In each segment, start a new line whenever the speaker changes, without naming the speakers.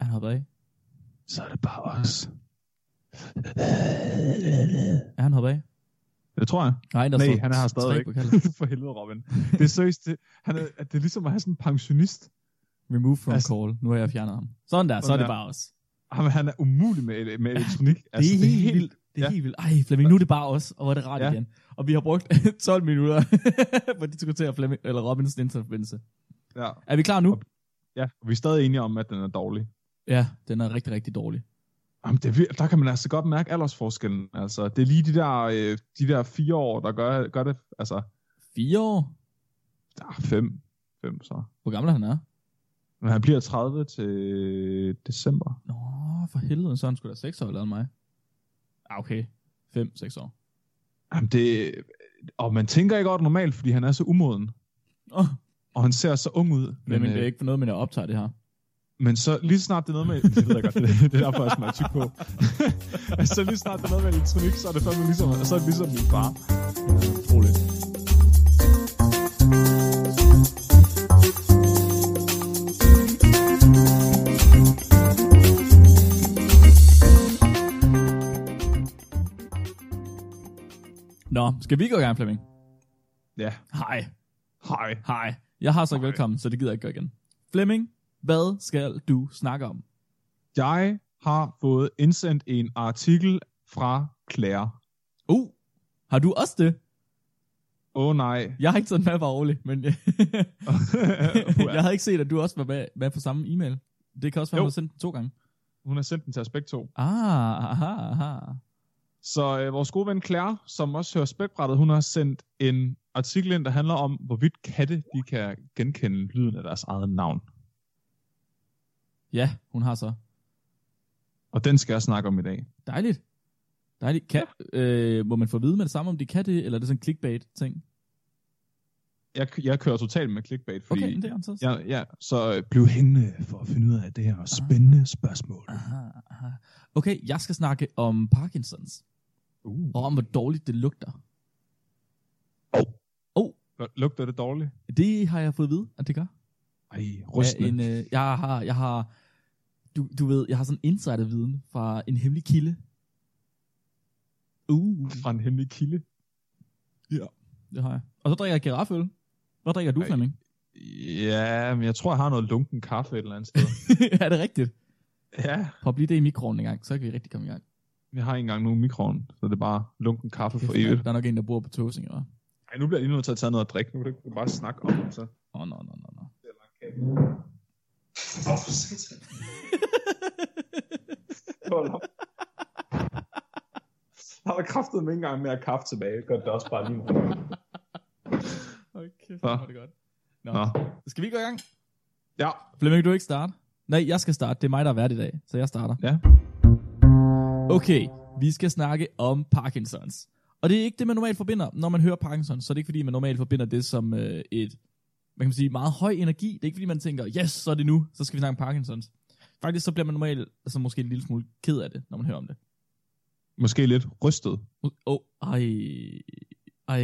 hopper af.
Så er det bare os.
Er han hoppet af?
Det tror jeg.
Nej, der
Nej,
står
han er
tre
her stadigvæk.
på kaldet.
For helvede, Robin. Det er seriøst, det, han er, at det er ligesom at have sådan en pensionist.
Remove from
Altså-
call. Nu har jeg fjernet ham. Sådan der, så er
Sådan
det
der.
bare os.
Jamen, han er umulig med, ele- med elektronik.
Altså, det er helt, helt vildt. Det er
ja.
ja. helt vildt. Ej, Flemming, nu er det bare os, og hvor er det rart ja.
Ja.
igen. Og vi har brugt 12 minutter på at diskutere Flemming, eller Robins internetforbindelse.
Ja,
Er vi klar nu?
ja. Og vi er stadig enige om, at den er dårlig.
Ja, den er rigtig, rigtig dårlig.
Jamen, det, er vir- der kan man altså godt mærke aldersforskellen. Altså, det er lige de der, øh, de der fire år, der gør, gør det. Altså,
Fire år?
der er fem. Fem så.
Hvor gammel han er?
Men han bliver 30 til december.
Nå, for helvede, så er han skulle da 6 år eller mig. Ah, okay. 5-6 år.
Jamen, det, og man tænker ikke over det normalt, fordi han er så umoden.
Oh,
Og han ser så ung ud.
men, men, det
øh,
er ikke for noget, men jeg optager det her.
Men så lige så snart det er noget med... Det ved jeg godt, det, det er derfor, jeg smager tyk på. altså, så lige så snart det er noget med elektronik, så er det fandme ligesom, så er det ligesom min far. Roligt.
Nå, skal vi gå i gang, Flemming?
Ja.
Hej,
Hej.
hej. Jeg har sagt
Hej.
velkommen, så det gider jeg ikke gøre igen. Flemming, hvad skal du snakke om?
Jeg har fået indsendt en artikel fra Claire.
Uh, har du også det?
Åh oh, nej.
Jeg har ikke taget den med, bare rolig, men jeg
Puha.
havde ikke set, at du også var med, med på samme e-mail. Det kan også være, at
Jo.
du har sendt den to gange.
Hun har sendt den til os begge to.
Ah, aha, aha.
Så øh, vores gode ven Claire, som også hører spækbrættet, hun har sendt en artikel ind, der handler om, hvorvidt katte de kan genkende lyden af deres eget navn.
Ja, hun har så.
Og den skal jeg snakke om i dag.
Dejligt. Dejligt. Kan, øh, må man få at vide med det samme, om de kan det, eller er det sådan en clickbait-ting?
Jeg, jeg kører totalt med clickbait, fordi
Okay, det er så.
Ja, ja, så øh, bliv hængende for at finde ud af det her
Ah.
spændende spørgsmål.
Aha, aha. Okay, jeg skal snakke om Parkinsons,
Uh.
og om, hvor dårligt det lugter.
Lugter det dårligt?
Det har jeg fået at vide, at det gør.
Ej,
Af
rystende.
en, øh, jeg har, jeg har, du, du ved, jeg har sådan en insiderviden fra en hemmelig kilde. Uh,
Fra en hemmelig kilde.
det har jeg. Og så drikker jeg girafføl. Hvad drikker du,
Ej.
Flemming?
Ja, men jeg tror, jeg har noget lunken kaffe et eller andet sted.
er det rigtigt?
ja,
Prøv at blive det i mikroovnen en gang, så kan vi rigtig komme i gang.
jeg har ikke engang nogen mikroen, så det er bare lunken kaffe for evigt.
Der er nok en, der bor på Tåsing, eller?
Ej, nu bliver jeg lige nødt til at tage noget at drikke. Nu kan du ikke bare snakke om det, så.
Åh, oh, no, no, no, no.
Åh, for satan. Hold op. Jeg har kraftet mig ikke engang mere kaffe tilbage. Gør det også bare lige nu.
okay,
Nå.
var det godt. Nå.
Nå.
Skal vi gå i gang?
Ja,
Flemming, du ikke starte? Nej, jeg skal starte. Det er mig, der er vært i dag, så jeg starter.
Ja.
Okay, vi skal snakke om Parkinsons. Og det er ikke det, man normalt forbinder. Når man hører Parkinsons, så er det ikke fordi, man normalt forbinder det som øh, et, man kan man sige, meget høj energi. Det er ikke fordi, man tænker, yes, så er det nu, så skal vi snakke om Parkinsons. Faktisk så bliver man normalt, altså måske en lille smule ked af det, når man hører om det.
måske lidt rystet.
Åh, oh, ej, ej,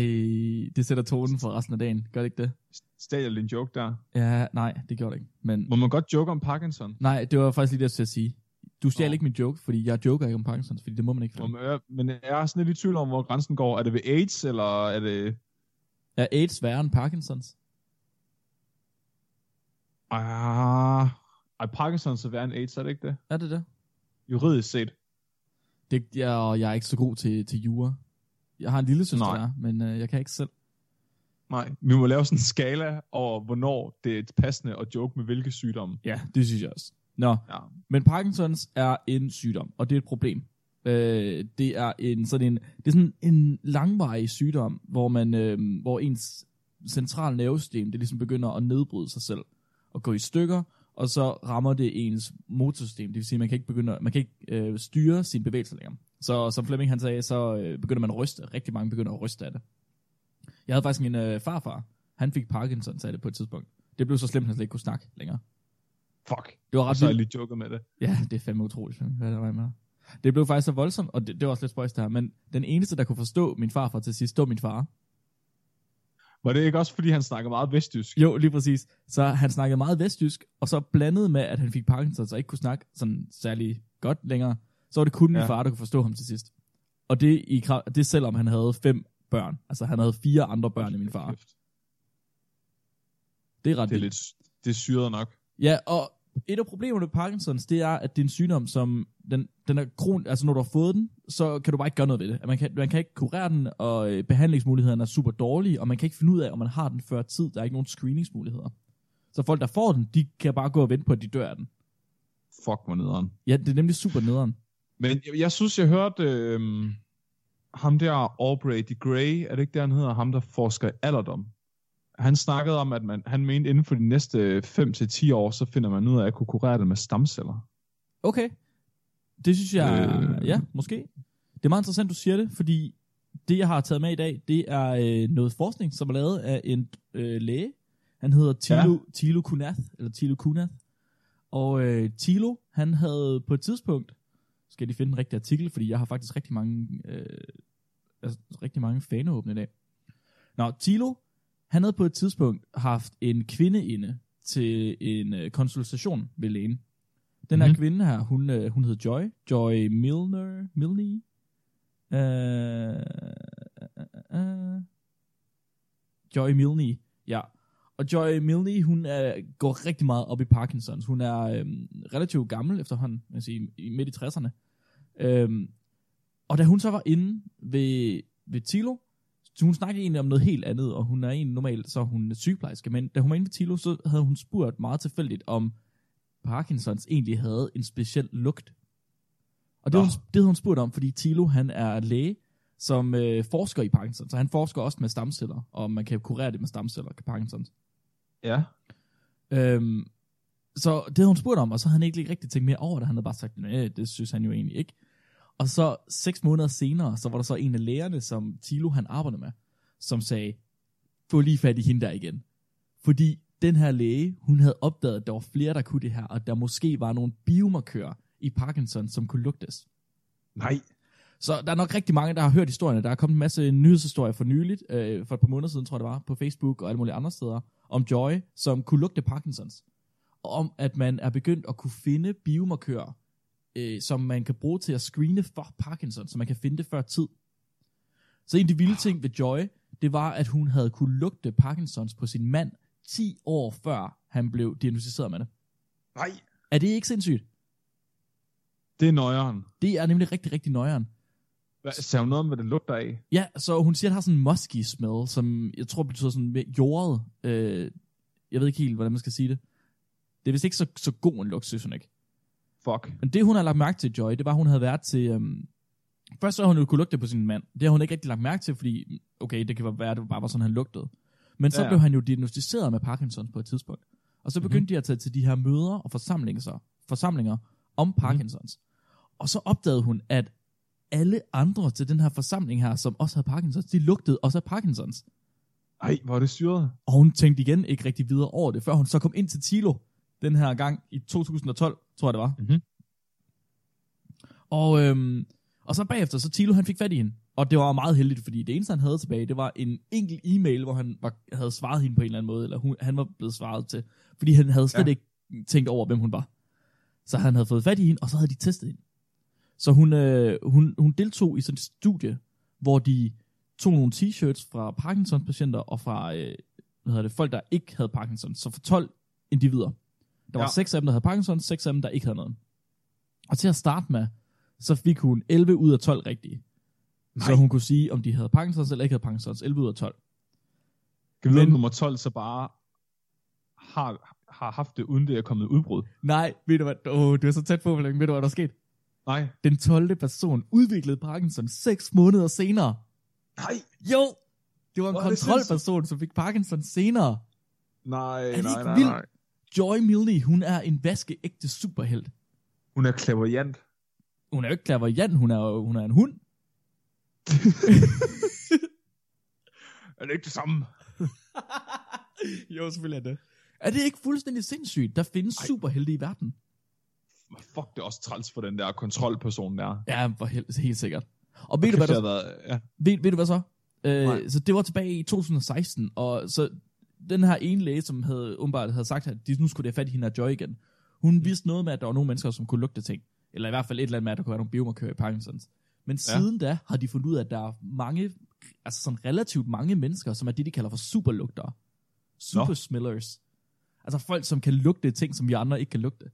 det sætter tonen for resten af dagen. Gør det ikke det?
Stjal jeg lige en joke der?
Ja, nej, det gjorde det ikke. Men
Må man godt joke om Parkinson?
Nej, det var faktisk lige det, jeg skulle til at sige. Du stjal
Nå.
ikke min joke, fordi jeg joker ikke om Parkinsons, fordi det må man ikke.
Om,
Om,
øh, men jeg er sådan lidt i tvivl om, hvor grænsen går. Er det ved AIDS, eller er det...
er AIDS værre end Parkinsons?
Ah, ej, Parkinson så værre end AIDS, er det ikke det?
Er det det?
Juridisk set.
det jeg, og jeg er ikke så god til, til jura. Jeg har en lille søster,
Nej.
der, er, men øh, jeg kan ikke selv.
Nej, vi må lave sådan en skala over, hvornår det er passende at joke med hvilke sygdomme.
Ja, det synes jeg også. Nå,
Ja.
men Parkinsons er en sygdom, og det er et problem. Øh, det er en sådan en, det er sådan en langvarig sygdom, hvor man, øh, hvor ens centrale nervesystem, det ligesom begynder at nedbryde sig selv og gå i stykker, og så rammer det ens motorsystem. Det vil sige, man kan ikke begynde, at- man kan ikke øh, styre sine bevægelser længere. Så som Flemming han sagde, så øh, begynder man at ryste. Rigtig mange begynder at ryste af det. Jeg havde faktisk min øh, farfar. Han fik Parkinson, sagde det på et tidspunkt. Det blev så slemt, at han slet ikke kunne snakke længere.
Fuck.
Det var
Og
ret
så har
vildt.
jeg lige joket med det.
Ja, det er fandme utroligt, hvad der var med. Det blev faktisk så voldsomt, og det, det var også lidt spøjst der, men den eneste, der kunne forstå min far fra til sidst, det var min far.
Var det ikke også, fordi han snakker meget vestjysk?
Jo, lige præcis. Så han snakkede meget vestjysk, og så blandet med, at han fik Parkinson, så ikke kunne snakke sådan særlig godt længere, så var det kun ja.
Ja.
min far, der kunne forstå ham til sidst. Og det, i, kraft- det selvom han havde fem børn. Altså, han havde fire andre børn i min far.
Kæft,
Det er ret
Det er
vildt.
lidt det er syret nok.
Ja, og et af problemerne med Parkinsons, det er, at det er en sygdom, som den, den er kron, altså når du har fået den, så kan du bare ikke gøre noget ved det. At Man kan, man kan ikke kurere den, og øh, behandlingsmulighederne er super dårlige, og man kan ikke finde ud af, om man har den før tid. Der er ikke nogen screeningsmuligheder. Så folk, der får den, de kan bare gå og vente på, at de dør af den.
Fuck, hvor nederen.
Ja, det er nemlig super nederen.
Men jeg, jeg synes, jeg hørte øh, ham der Aubrey de Grey, er det ikke det, han hedder? Ham, der forsker i alderdom. Han snakkede om, at man, han mente, inden for de næste 5-10 år, så finder man ud af at kunne kurere det med stamceller.
Okay. Det synes jeg, øh.
Øh.
ja, måske. Det er meget interessant, du siger det, fordi det, jeg har taget med i dag, det er øh, noget forskning, som er lavet af en øh, læge. Han hedder Tilo, ja. Tilo Kunath, eller Tilo Kunath. Og øh, Tilo, han havde på et tidspunkt, skal de finde en rigtig artikel, fordi jeg har faktisk rigtig mange, øh, altså, rigtig mange faneåbne i dag. Nå, Tilo, han havde på et tidspunkt haft en kvinde inde til en øh, konsultation ved lægen. Den her
Mhm.
mm-hmm. kvinde her, hun, øh, hun hed Joy. Joy Milner. Milne. Øh, øh, øh, øh. Joy Milne, ja. Og Joy Milne, hun øh, går rigtig meget op i Parkinsons. Hun er øh, relativt gammel efterhånden, man sige, i- midt i 60'erne. Øhm, og da hun så var inde ved, ved Tilo, så hun snakkede egentlig om noget helt andet, og hun er egentlig normalt, så er hun sygeplejerske, men da hun var inde ved Tilo, så havde hun spurgt meget tilfældigt, om Parkinsons egentlig havde en speciel lugt. Og det,
Nå.
havde hun, det havde hun spurgt om, fordi Tilo, han er læge, som øh, forsker i Parkinson, så han forsker også med stamceller, og om man kan kurere det med stamceller, kan Parkinsons.
Ja.
Øhm, så det havde hun spurgt om, og så havde han ikke lige rigtig tænkt mere over det. Han havde bare sagt, nej, det synes han jo egentlig ikke. Og så seks måneder senere, så var der så en af lærerne, som Tilo han arbejder med, som sagde, få lige fat i hende der igen. Fordi den her læge, hun havde opdaget, at der var flere, der kunne det her, og der måske var nogle biomarkører i Parkinson, som kunne lugtes.
Nej.
Så der er nok rigtig mange, der har hørt historierne. Der er kommet en masse nyhedshistorier for nyligt, øh, for et par måneder siden, tror jeg det var, på Facebook og alle mulige andre steder, om Joy, som kunne lugte Parkinsons. Og om, at man er begyndt at kunne finde biomarkører, øh, som man kan bruge til at screene for Parkinson, så man kan finde det før tid. Så en af de vilde ting ved Joy, det var, at hun havde kunne lugte Parkinsons på sin mand 10 år før han blev diagnostiseret med det.
Nej.
Er det ikke sindssygt?
Det er nøjeren.
Det er nemlig rigtig, rigtig nøjeren.
Hvad, sagde hun noget om, hvad det lugter af?
Ja, så hun siger, at det har sådan en musky smell, som jeg tror betyder sådan med jordet. Øh, jeg ved ikke helt, hvordan man skal sige det. Det er vist ikke så, så god en lugt, synes hun ikke.
Fuck.
Men det, hun har lagt mærke til, Joy, det var, at hun havde været til... Øhm, først så havde hun jo kunne lugte på sin mand. Det har hun ikke rigtig lagt mærke til, fordi, okay, det kan være, at det bare var sådan, han lugtede. Men så
Ja,
ja.
ja.
blev han jo diagnostiseret med Parkinson på et tidspunkt. Og så begyndte
Mhm.
mm-hmm. de at tage til de her møder og forsamlinger, forsamlinger om Parkinsons. Og så opdagede hun, at alle andre til den her forsamling her, som også havde Parkinsons, de lugtede også af Parkinsons.
Nej, hvor er det syret.
Og hun tænkte igen ikke rigtig videre over det, før hun så kom ind til Tilo den her gang i 2012, tror jeg det var.
Mhm.
Og, øhm, og så bagefter, så Tilo han fik fat i hende. Og det var meget heldigt, fordi det eneste, han havde tilbage, det var en enkelt e-mail, hvor han var, havde svaret hende på en eller anden måde, eller hun, han var blevet svaret til. Fordi han havde slet
Ja.
ja. ikke tænkt over, hvem hun var. Så han havde fået fat i hende, og så havde de testet hende. Så hun, øh, hun, hun deltog i sådan et studie, hvor de tog nogle t-shirts fra Parkinsons-patienter og fra øh, hvad hedder det, folk, der ikke havde Parkinsons. Så for 12 individer. Der var
Ja.
seks af dem, der havde Parkinsons, seks af dem, der ikke havde noget. Og til at starte med, så fik hun 11 ud af 12 rigtige. Nej. Så
Nej.
hun kunne sige, om de havde Parkinsons eller ikke havde Parkinsons. 11 ud af 12.
Kan vi vide, om
Men-
nummer 12 så bare har, har haft det, uden det er kommet i udbrud?
Nej, ved du hvad? Åh, du er så tæt på, Flemming. ved du hvad der er sket?
Nej.
Den 12. person udviklede Parkinson 6 måneder senere.
Nej.
Jo! Det var en
Hvor er det
kontrolperson, som fik Parkinson senere.
Nej,
det
nej,
ikke
nej,
vildt?
nej.
Joy Milne, hun er en vaskeægte superhelt.
Hun er klaverjant.
Hun er jo ikke klaverjant, hun er, jo- hun er en hund.
Er det ikke det samme?
jo, selvfølgelig er det. Er det ikke fuldstændig sindssygt? Der findes
Ej.
superhelte i verden.
Fuck, det er også træls for den der kontrolperson der.
Ja, for hel- helt sikkert. Og ved
Kæft,
du, hvad
jeg
der,
har været, ja.
ved, ved du hvad så? Øh,
Nej.
så det var tilbage i 2016, og så den her ene læge, som havde umiddelbart havde sagt, at de nu skulle det fat i hende og Joy igen,
Mm.
hun vidste noget med, at der var nogle mennesker, som kunne lugte ting. Eller i hvert fald et eller andet med, at der kunne være nogle biomarkører i Parkinsons. Men
Ja.
siden da har de fundet ud af, at der er mange, altså sådan relativt mange mennesker, som er det, de kalder for superlugtere. Super smellers. Altså folk, som kan lugte ting, som vi andre ikke kan lugte.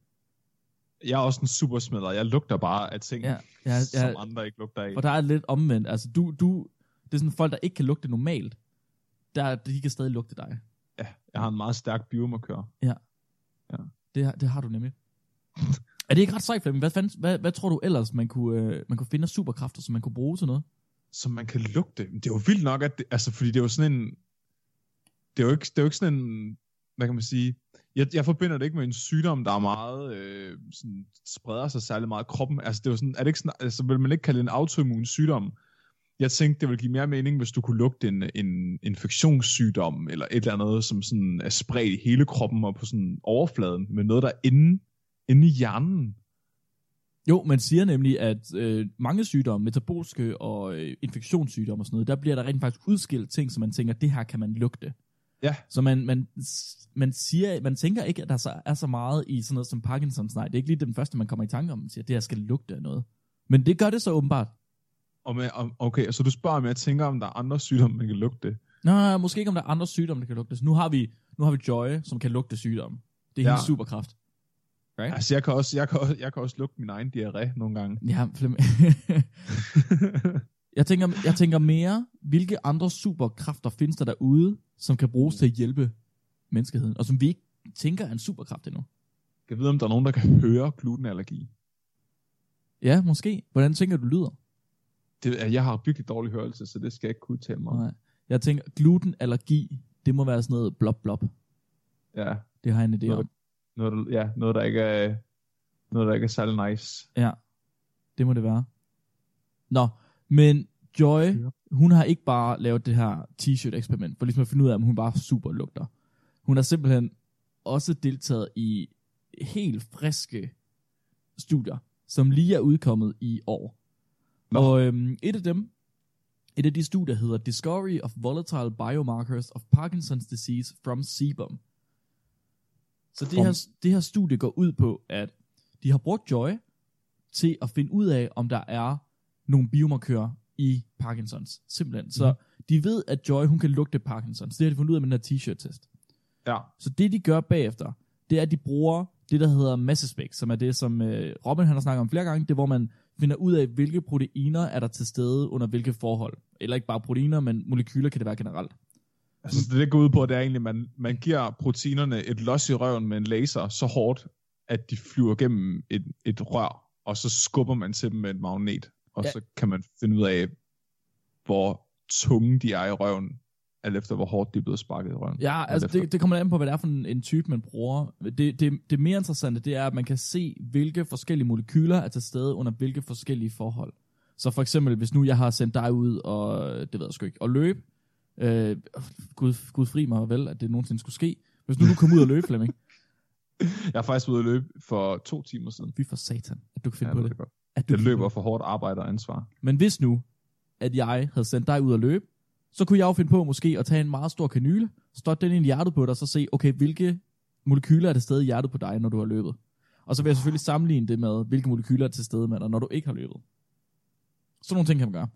Jeg er også en supersmiller. Jeg lugter bare af ting,
Ja,
ja,
ja,
ja,
ja.
ja. som andre ikke lugter af.
For der er lidt omvendt. Altså, du, du, det er sådan folk, der ikke kan lugte normalt, der, de kan stadig lugte dig.
Ja, jeg har en meget stærk biomarkør.
Det, har- det har du nemlig. er det ikke ret sejt, Flemming? Hvad, fanden, hvad, hvad tror du ellers, man kunne, øh, man kunne finde af superkræfter, som man kunne bruge til noget?
som man kan lugte. Men det er jo vildt nok, at det, altså, fordi det er jo sådan en, det er jo ikke, det er jo ikke sådan en, hvad kan man sige, jeg, jeg forbinder det ikke med en sygdom, der er meget, øh, sådan, spreder sig særlig meget i kroppen. Altså, det er jo sådan, er det ikke sådan, altså, vil man ikke kalde det en autoimmun sygdom? Jeg tænkte, det ville give mere mening, hvis du kunne lugte en, en infektionssygdom, eller et eller andet, som sådan er spredt i hele kroppen og på sådan overfladen, med noget, der er inde, inde i hjernen.
Jo, man siger nemlig, at øh, mange sygdomme, metabolske og øh, infektionssygdomme og sådan noget, der bliver der rent faktisk udskilt ting, som man tænker, det her kan man lugte.
Ja.
Så man, man, man, siger, man tænker ikke, at der så er så meget i sådan noget som Parkinsons. Nej, det er ikke lige den første, man kommer i tanke om, man siger, det her skal lugte af noget. Men det gør det så åbenbart.
Og med, om, okay, så du spørger, om jeg tænker, om der er andre sygdomme, man kan lugte.
Nå, måske ikke, om der er andre sygdomme, der kan lugtes. Nu har vi, nu har vi Joy, som kan lugte sygdomme. Det er ja.
Ja.
hendes superkraft.
Altså, jeg kan også, jeg kan også, jeg kan også lugte min egen diarré nogle gange.
Ja, Flemming. jeg, tænker, jeg tænker mere, hvilke andre superkræfter findes der derude, som kan bruges til at hjælpe menneskeheden, og som vi ikke tænker er en superkraft endnu.
jeg ved, om der er nogen, der kan høre glutenallergi.
Ja, måske. Hvordan tænker du lyder?
Det, altså, jeg har virkelig dårlig hørelse, så det skal jeg ikke kunne udtale mig om.
Nej. Jeg tænker, glutenallergi, det må være sådan noget blop blop.
Ja,
Det har jeg en idé
Nå.
om.
noget, der- ja, noget, der ikke er, noget, der ikke er særlig nice.
Ja, det må det være. Nå, men Joy, hun har ikke bare lavet det her t-shirt eksperiment, for ligesom at finde ud af, om hun bare super lugter. Hun har simpelthen også deltaget i helt friske studier, som lige er udkommet i år.
Nå.
Og øhm, et af dem, et af de studier hedder Discovery of Volatile Biomarkers of Parkinson's Disease from Sebum. Så det
From-
her, det her studie går ud på, at de har brugt Joy til at finde ud af, om der er nogle biomarkører i Parkinsons, simpelthen. Så de ved, at Joy, hun kan lugte Parkinsons. Det har de fundet ud af med den her t-shirt-test.
Ja,
Så det, de gør bagefter, det er, at de bruger det, der hedder mass spec, som er det, som øh, Robin han har snakket om flere gange. Det er, hvor man finder ud af, hvilke proteiner er der til stede under hvilke forhold. Eller ikke bare proteiner, men molekyler kan det være generelt.
altså så det, det går ud på, det er egentlig, man, man giver proteinerne et los i røven med en laser så hårdt, at de flyver gennem et, et rør, og så skubber man til dem med et magnet, og
Ja.
ja. så kan man finde ud af, hvor tunge de er i røven, alt efter hvor hårdt de er blevet sparket i røven.
Ja, altså
efter-
det, det kommer an på, hvad det er for en, en type, man bruger. Det, det, det mere interessante, det er, at man kan se, hvilke forskellige molekyler er til stede under hvilke forskellige forhold. Så for eksempel, hvis nu jeg har sendt dig ud og, det ved jeg sgu ikke, og løbe, øh, Gud, Gud fri mig vel, at det nogensinde skulle ske. Hvis nu du kom ud og løbe, Flemming,
Jeg er faktisk ude at løbe for to timer siden.
fy for satan, at du kan finde
Ja,
på
det
det.
er godt.
At du
Jeg
kan
løber
finde på
for hårdt arbejde og ansvar.
det. Men hvis nu, at jeg havde sendt dig ud og løbe, så kunne jeg jo finde på måske at tage en meget stor kanyle, stoppe den ind i hjertet på dig, og så se, okay, hvilke molekyler er til stede i hjertet på dig, når du har løbet. Og så vil jeg selvfølgelig sammenligne det med, hvilke molekyler er til stede med dig, når du ikke har løbet. Sådan nogle ting kan man gøre.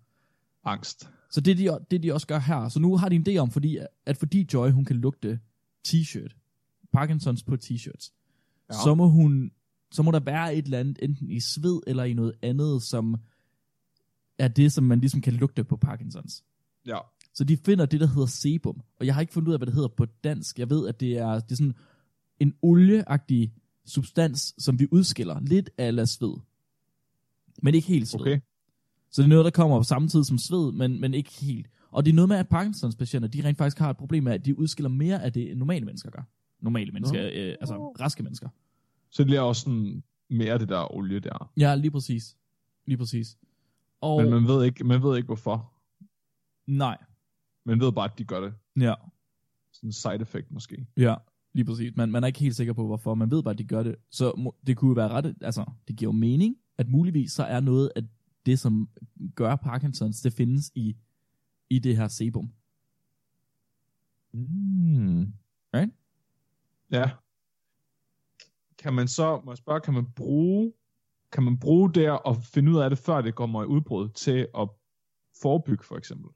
Angst.
Så det de, det de også gør her, så nu har de en idé om, fordi, at fordi Joy hun kan lugte t-shirt, Parkinsons på t-shirts, ja.
Ja.
så, må hun, så må der være et eller andet, enten i sved eller i noget andet, som er det, som man ligesom kan lugte på Parkinsons.
Ja.
Så de finder det, der hedder sebum. Og jeg har ikke fundet ud af, hvad det hedder på dansk. Jeg ved, at det er, det er sådan en olieagtig substans, som vi udskiller. Lidt af sved. Men ikke helt sved.
Okay.
Så det er noget, der kommer samtidig som sved, men, men ikke helt. Og det er noget med, at Parkinsons patienter, de rent faktisk har et problem med, at de udskiller mere af det, end normale mennesker gør. Normale mennesker,
Nå.
øh, altså raske mennesker.
Så det bliver også sådan mere det der olie der.
Ja, lige præcis. Lige præcis. Og
Men man ved, ikke, man ved ikke hvorfor.
nej.
Man ved bare, at de gør det.
Ja.
Sådan en side effect måske.
Ja, lige præcis. Man, man er ikke helt sikker på, hvorfor. Man ved bare, at de gør det. Så må, det kunne jo være ret... Altså, det giver jo mening, at muligvis så er noget af det, som gør Parkinsons, det findes i i det her sebum.
Mm.
Right?
Ja. Kan man så, må jeg spørge, kan man bruge, kan man bruge det og finde ud af det, før det kommer i udbrud, til at forebygge for eksempel?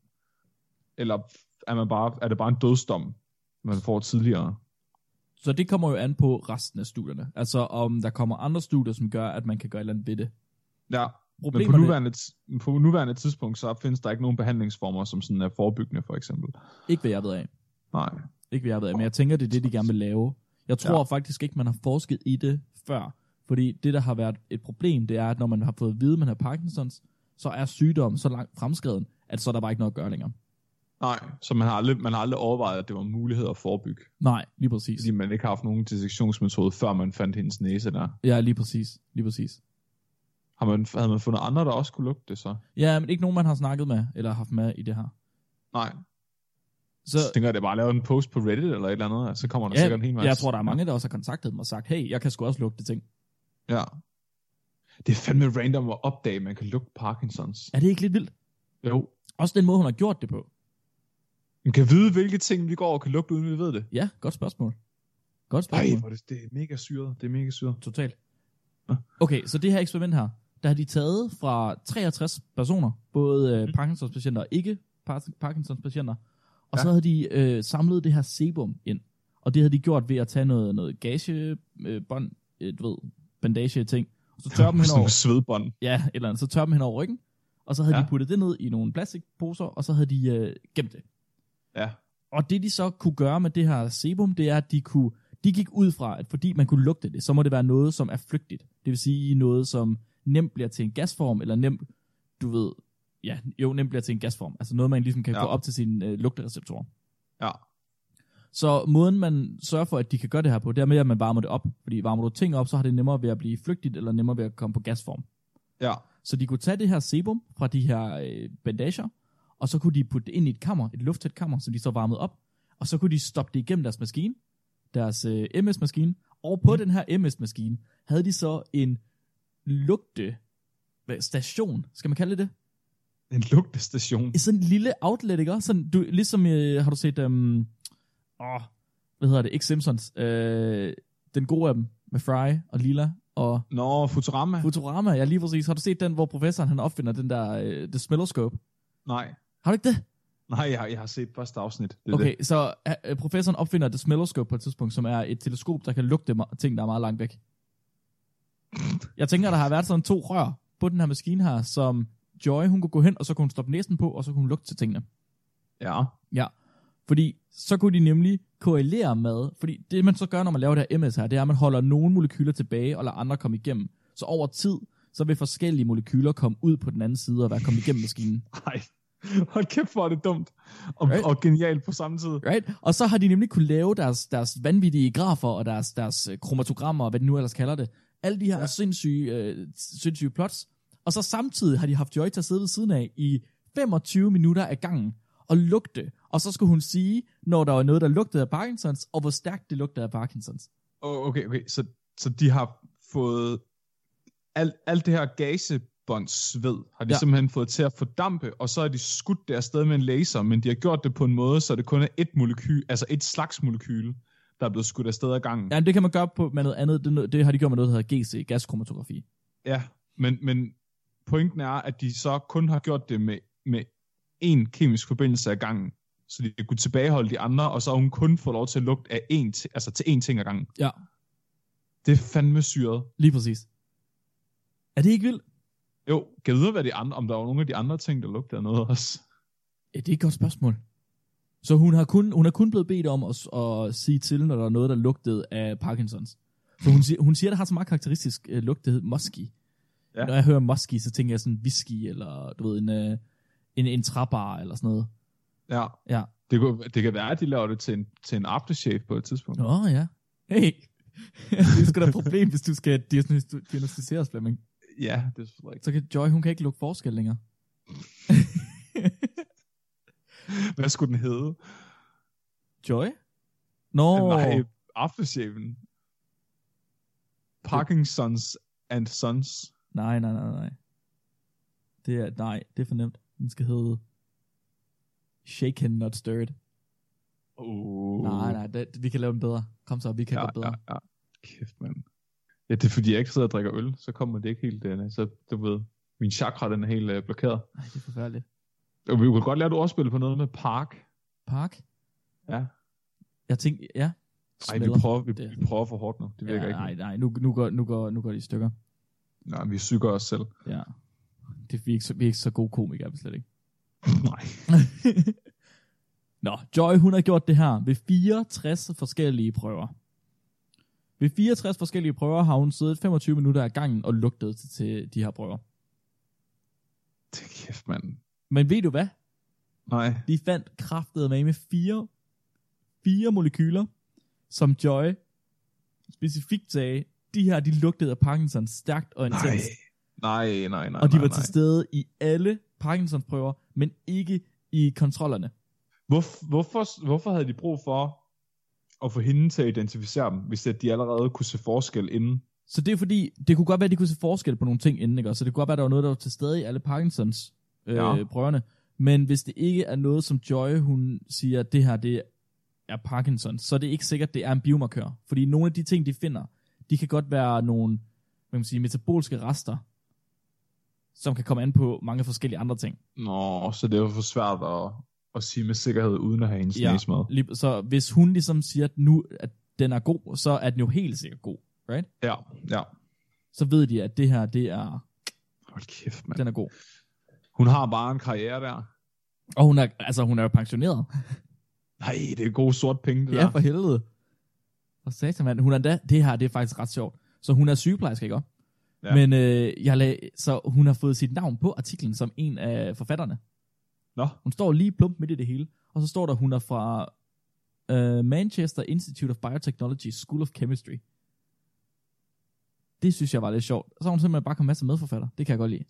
Eller er, man bare, er det bare en dødsdom, man får tidligere?
Så det kommer jo an på resten af studierne. Altså om der kommer andre studier, som gør, at man kan gøre et eller andet ved det.
Ja, men på
Problemerne,
nuværende, tids- på nuværende tidspunkt, så findes der ikke nogen behandlingsformer, som sådan er forebyggende for eksempel.
ikke hvad jeg ved af.
Nej.
Ikke hvad jeg ved af, men jeg tænker, det er det, de gerne vil lave. Jeg tror ja. faktisk ikke, man har forsket i det før. Fordi det, der har været et problem, det er, at når man har fået at vide, at man har Parkinsons, så er sygdommen så langt fremskreden, at så er der bare ikke noget at gøre længere.
Nej, så man har, aldrig, man har aldrig overvejet, at det var en mulighed at forebygge,
Nej, lige præcis.
fordi man ikke har haft nogen dissektionsmetode, før man fandt hendes næse der.
Ja, lige præcis. Lige præcis.
Har man, havde man fundet andre, der også kunne lugte det så?
Ja, men ikke nogen, man har snakket med, eller haft med i det her.
Nej.
Så,
Så, så tænker jeg, det er bare at lave en post på Reddit eller et eller andet, og så kommer der
ja,
sikkert en hel masse.
jeg tror, der er mange, der også har kontaktet dem og sagt, hey, jeg kan sgu også lugte ting.
Ja. Det er fandme random at opdage, at man kan lugte Parkinsons.
Er det ikke lidt vildt?
Jo.
Også den måde, hun har gjort det på.
Man kan vide, hvilke ting vi går og kan lugte, uden vi ved det.
Ja, godt spørgsmål. Godt
Nej,
spørgsmål.
det, det er mega syret. Det er mega syret.
Totalt.
Nå.
Okay, så det her eksperiment her, der har de taget fra 63 personer, både øh,
Mm.
Parkinsons-patienter og ikke par- Parkinsons-patienter, og
Ja.
så havde de øh, samlet det her sebum ind, og det havde de gjort ved at tage noget, noget gagebånd, øh, bånd, øh, du ved, bandage-ting, og så tørre dem
Sådan
henover,
nogle svedbånd.
ja, et eller andet, så tørre dem henover ryggen, og så havde ja.
Ja.
de puttet det ned i nogle plastikposer, og så havde de øh, gemt det.
Ja.
Og det de så kunne gøre med det her sebum, det er, at de, kunne, de gik ud fra, at fordi man kunne lugte det, så må det være noget, som er flygtigt. Det vil sige noget, som nemt bliver til en gasform, eller nemt, du ved, ja, jo, nemt bliver til en gasform. Altså noget, man ligesom kan ja.
Ja.
få op til sine øh, lugtereceptorer.
Ja.
Så måden, man sørger for, at de kan gøre det her på, det er med, at man varmer det op. Fordi varmer du ting op, så har det nemmere ved at blive flygtigt, eller nemmere ved at komme på gasform.
Ja.
Så de kunne tage det her sebum fra de her øh, bandager, og så kunne de putte det ind i et kammer, et lufttæt kammer, som de så varmede op, og så kunne de stoppe det igennem deres maskine, deres øh, MS-maskine, og på mm. den her MS-maskine havde de så en lugte hvad, station, skal man kalde det
En lugtestation.
det? Sådan en lille outlet, ikke? også? Sådan, du, ligesom, øh, har du set, øhm, åh, hvad hedder det, ikke Simpsons, øh, den gode af dem, med Fry og Lila, og
Nå, Futurama? Fut-
Futurama, ja lige præcis. Har du set den, hvor professoren han opfinder den der, øh, The Smelloscope?
Nej.
Har du ikke det?
Nej, jeg, jeg har set første afsnit. Det er det.
Okay, så øh, professoren opfinder The Smelloscope på et tidspunkt, som er et teleskop, der kan lugte ma- ting, der er meget langt væk. Jeg tænker, der har været sådan to rør på den her maskine her, som Joy, hun kunne gå hen, og så kunne hun stoppe næsen på, og så kunne hun lugte til tingene.
Ja.
Fordi så kunne de nemlig korrelere med, fordi det man så gør, når man laver det her MS her, det er, at man holder nogle molekyler tilbage og lader andre komme igennem. Så over tid, så vil forskellige molekyler komme ud på den anden side og være kommet igennem maskinen.
Nej. Hold kæft, hvor er det dumt. Og,
Right.
right. og genialt på samme tid.
Right? Og så har de nemlig kunne lave deres, deres vanvittige grafer og deres, deres øh, kromatogrammer og hvad de nu ellers kalder det. Alle de her ja.
Ja.
sindssyge, øh, sindssyge plots. Og så samtidig har de haft Joy til at sidde ved siden af i 25 minutter af gangen og lugte. Og så skulle hun sige, når der var noget, der lugtede af Parkinsons, og hvor stærkt det lugtede af Parkinsons.
Oh, okay, okay. Så, så de har fået... Alt, alt det her gasebåndssved har de
Ja.
ja. simpelthen fået til at fordampe, og så har de skudt det afsted med en laser, men de har gjort det på en måde, så det kun er et molekyl, altså et slags molekyle, der er blevet skudt afsted ad gangen.
Ja, det kan man gøre på, med noget andet. Det, er noget- det har de gjort med noget, der hedder GC, gaskromatografi.
ja. Men, men pointen er, at de så kun har gjort det med, med én kemisk forbindelse ad gangen, så de kunne tilbageholde de andre, og så har hun kun fået lov til at lugte af én, ti- altså til én ting ad gangen.
Ja.
Det er fandme syret.
Lige præcis. Er det ikke vildt?
Jo, kan jeg vide, hvad de andre, om der var nogle af de andre ting, der lugtede af noget også?
Ja, det er et godt spørgsmål. Så hun har kun, hun har kun blevet bedt om at, s- at sige til, når der er noget, der lugtede af Parkinsons. Så hun, siger, hun siger, der har så meget karakteristisk øh, lugt, det hedder musky. Ja.
Ja.
Når jeg hører musky, så tænker jeg sådan whisky, eller du ved, en, øh, en, en træbar, eller sådan noget.
Ja.
Ja.
Det, kunne, det kan være, at de laver det til en, til en aftershave på et tidspunkt.
Nå ja. Hey, det er sgu da et problem, hvis du skal diagnosti- diagnostiseres, Flemming.
Ja, det er selvfølgelig rigtigt.
Så kan Joy, hun kan ikke lugte forskel længere.
Hvad skulle den hedde?
Joy? Nå,
Nej, aftershaven. Parkinsons and Sons.
Nej, nej, nej, nej. Det er, nej, det er for nemt. Den skal hedde Shake hand, not stir it.
Uh.
Nej, nej, det, vi kan lave den bedre. Kom så, vi kan ja,
ja,
godt bedre.
ja, ja. Kæft, mand. Ja, det er fordi, jeg ikke sidder og drikker øl, så kommer det ikke helt, øh, så du ved, min chakra, den er helt øh, blokeret.
Ej, det er forfærdeligt.
Og Vi kunne godt lære, at du også spiller på noget med park.
Park?
Ja.
Jeg tænkte, ja.
Nej, vi
Smeller.
prøver, vi,
Det-
vi prøver for hårdt nu. Det virker
ja,
ikke.
Nej, nej, nu, nu, går, nu, går, nu går de i stykker.
Nej, vi syger os selv.
Ja. Det, vi, er ikke så, vi er ikke så gode komikere, er vi slet ikke.
Nej.
Nå, Joy hun har gjort det her ved 64 forskellige prøver. Ved 64 forskellige prøver har hun siddet 25 minutter af gangen og lugtet til, til de her prøver.
Det er kæft, mand.
Men ved du hvad?
Nej.
De fandt kraftet med med fire, fire molekyler, som Joy specifikt sagde, de her, de lugtede af Parkinson stærkt og
Nej.
intens.
Nej, nej, nej.
Og de
nej,
var
nej.
til stede i alle Parkinsons prøver, men ikke i kontrollerne.
Hvorf, hvorfor, hvorfor havde de brug for at få hende til at identificere dem, hvis at de allerede kunne se forskel inden?
Så det er fordi, det kunne godt være, at de kunne se forskel på nogle ting inden, ikke? Så det kunne godt være, at der var noget, der var til stede i alle Parkinsons øh,
Ja.
ja. prøverne. Men hvis det ikke er noget, som Joy, hun siger, at det her, det er Parkinsons, så er det ikke sikkert, at det er en biomarkør. Fordi nogle af de ting, de finder, de kan godt være nogle, hvad kan man sige, metabolske rester, som kan komme an på mange forskellige andre ting.
Nå, så det var for svært at, at sige med sikkerhed, uden at have hendes ja.
Ja.
næse med.
Lige- Så hvis hun ligesom siger, at nu at den er god, så er den jo helt sikkert god.
Ja, ja.
Så ved de, at det her, det er,
Hold kæft, mand.
den er god.
Hun har bare en karriere der.
Og hun er, altså, hun er jo pensioneret.
Nej, det er gode sort penge, det
Ja,
der.
for helvede. Og satan, mand. Hun er da, det her, det er faktisk ret sjovt. Så hun er sygeplejerske, ikke?
Ja.
Ja. Men øh, jeg lag, så hun har fået sit navn på artiklen som en af forfatterne.
Nå,
Hun står lige plump midt i det hele. Og så står der, hun er fra øh, Manchester Institute of Biotechnology School of Chemistry. Det synes jeg var lidt sjovt. Så har hun simpelthen bare kommet med som medforfatter. Det kan jeg godt lide.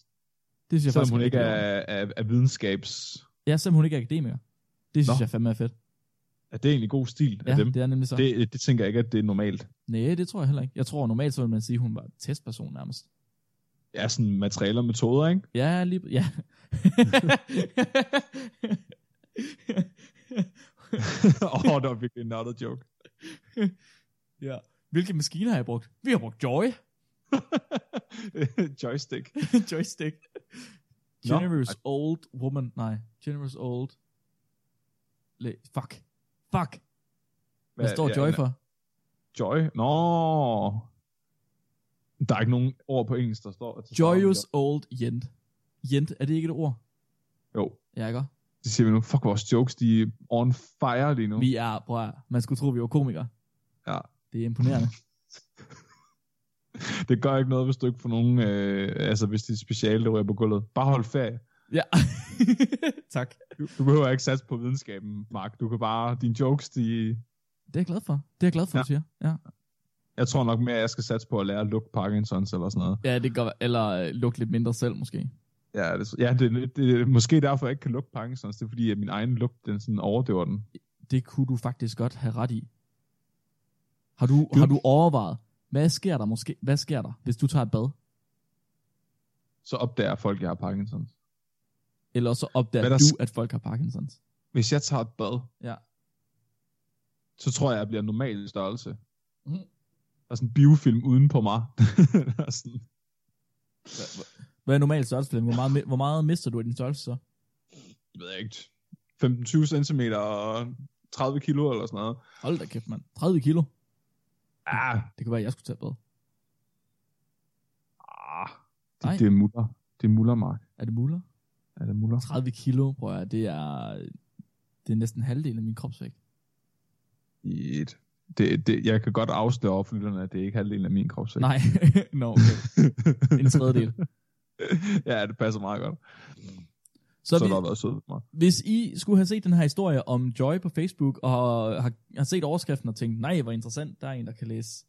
Det synes jeg
selvom
faktisk
hun
er
ikke
rigtig
er, er, er videnskabs...
sjovt. Ja, selvom hun ikke er akademiker. Det synes
Nå.
Nå. jeg fandme er fedt.
Er det egentlig god stil af
Ja,
dem?
det er nemlig så. Det...
Det, det tænker jeg ikke, at det er normalt.
Nej, det tror jeg heller ikke. Jeg tror normalt, så vil man sige, at hun var testperson nærmest.
Ja, sådan materialer og metoder, ikke?
Ja, lige... Ja.
Åh, oh, det var virkelig en nuttet joke.
ja. Hvilke maskiner har jeg brugt? Vi har brugt Joy.
Joystick.
Joystick.
Nå.
Generous no. old woman. Nej. Generous old... Le... Fuck. Fuck. Hvad står Joy for?
Joy? Nå. Der er ikke nogen ord på engelsk, der står. Der
Joyous
Står,
old Jent. Jent, er det ikke et ord?
jo,
Ja, ikke?
det siger vi nu. Fuck, vores jokes, de er on fire lige nu.
Vi er, prøv at, man skulle tro, vi var komikere.
Ja.
Det er imponerende.
Det gør ikke noget, hvis du ikke får nogen, øh, altså hvis det er speciale, der ryger på gulvet. Bare hold ferie.
ja. tak.
Du, du behøver ikke satse på videnskaben, Mark. Du kan bare, dine jokes, de...
Det er jeg glad for. Det er jeg glad for,
Ja.
ja. du siger. Ja.
Jeg tror nok mere, at jeg skal satse på at lære at lukke Parkinsons eller sådan noget.
Ja, det kan godt være- Eller øh, lugte lidt mindre selv, måske.
Ja, det, ja det, det, er måske derfor, jeg ikke kan lukke Parkinsons. Det er fordi, at min egen lugt, den sådan overdøver den.
Det kunne du faktisk godt have ret i. Har du, har du overvejet, hvad sker der måske? Hvad sker der, hvis du tager et bad?
Så opdager folk, at jeg har Parkinsons.
Eller så opdager
Hvad der
du,
sk-
at folk har Parkinsons.
hvis jeg tager et bad,
Ja.
så tror jeg, jeg bliver normal størrelse. Mm.
Mhm.
Der er sådan en biofilm uden på mig. der er sådan,
Hvad er normal størrelse? Flemming? Hvor meget, mi- hvor meget mister du i din størrelse så?
jeg ved ikke, 15-20 cm og 30 kilo eller sådan noget.
Hold da kæft, mand. 30 kilo.
Ah,
Det kunne være, at jeg skulle tage et bad.
ah.
Nej.
Det, det, er muller. Det er muller, Mark.
Er det muller?
Er det muller?
30 kilo, prøv at høre, det er, det er næsten halvdelen af min kropsvægt.
Et. Det, det, jeg kan godt afsløre over for lytterne, at det er ikke halvdelen af min krop.
Nej, nå, okay. En tredjedel.
ja, det passer meget godt.
Så,
Så,
er vi,
så vi... der har været sød ved mig.
Hvis I skulle have set den her historie om Joy på Facebook, og har, har set overskriften og tænkt, nej, hvor interessant, der er en, der kan læse,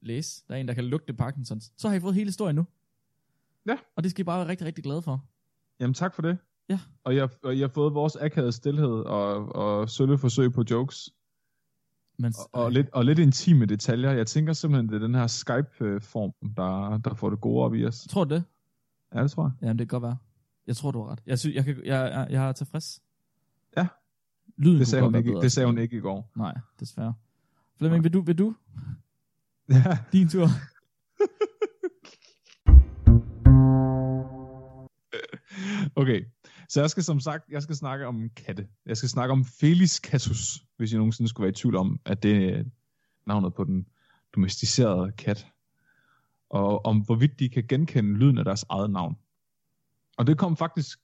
læse, der er en, der kan lugte Parkinsons, så har I fået hele historien nu.
Ja.
Og det skal I bare være rigtig, rigtig glade for.
Jamen tak for det.
Ja.
Og jeg, og jeg har fået vores akavede stillhed og, og sølle forsøg på jokes.
Men,
Og, og, lidt, og lidt intime detaljer. Jeg tænker simpelthen, det er den her Skype-form, der, der får det gode op i os.
Tror du det?
Ja, det tror jeg.
Jamen, det kan godt være. Jeg tror, du har ret. Jeg, synes, jeg, kan, jeg, jeg, jeg er tilfreds.
Ja.
Lyden
Det
kunne
sagde,
godt
hun
være
ikke,
bedre.
det sagde hun ikke i går.
Nej, desværre. Flemming, vil du, vil du?
Ja.
Din tur.
Okay, så jeg skal som sagt, jeg skal snakke om katte. Jeg skal snakke om Felis catus, hvis jeg nogensinde skulle være i tvivl om, at det er navnet på den domesticerede kat. Og om hvorvidt de kan genkende lyden af deres eget navn. Og det kom faktisk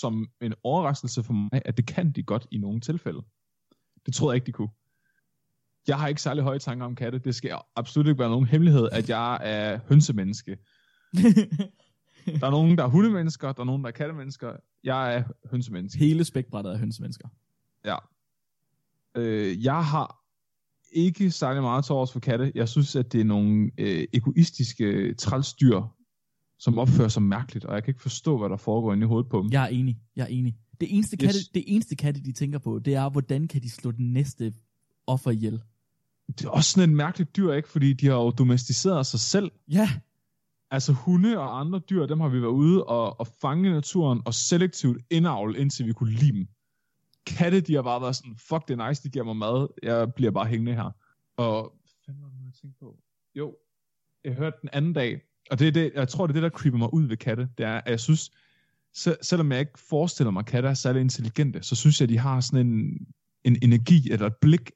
som en overraskelse for mig, at det kan de godt i nogle tilfælde. Det troede jeg ikke, de kunne. Jeg har ikke særlig høje tanker om katte. Det skal absolut ikke være nogen hemmelighed, at jeg er hønsemenneske. Der er nogen, der er hundemennesker, der er nogen, der er kattemennesker. Jeg er hønsemenneske.
Hele spækbrættet af hønsemennesker.
Øh, jeg har ikke særlig meget til overs for katte. Jeg synes, at det er nogle øh, egoistiske trælsdyr, som opfører sig mærkeligt, og jeg kan ikke forstå, hvad der foregår inde i hovedet på dem.
Jeg er enig. Jeg er enig. Det eneste, katte,
Yes.
det eneste katte, de tænker på, det er, hvordan kan de slå den næste offer ihjel?
Det er også sådan et mærkeligt dyr, ikke? Fordi de har jo domesticeret sig selv.
Ja,
Altså hunde og andre dyr, dem har vi været ude og, og fange i naturen og selektivt indavle, indtil vi kunne lide dem. Katte, de har bare været sådan, fuck det er nice, de giver mig mad, jeg bliver bare hængende her. Og hvad fanden var det nu, jeg tænkte på? Jo, jeg hørte den anden dag, og det er det, jeg tror, det er det, der creeper mig ud ved katte, det er, at jeg synes, se, selvom jeg ikke forestiller mig, at katte er særlig intelligente, så synes jeg, de har sådan en, en energi eller et blik.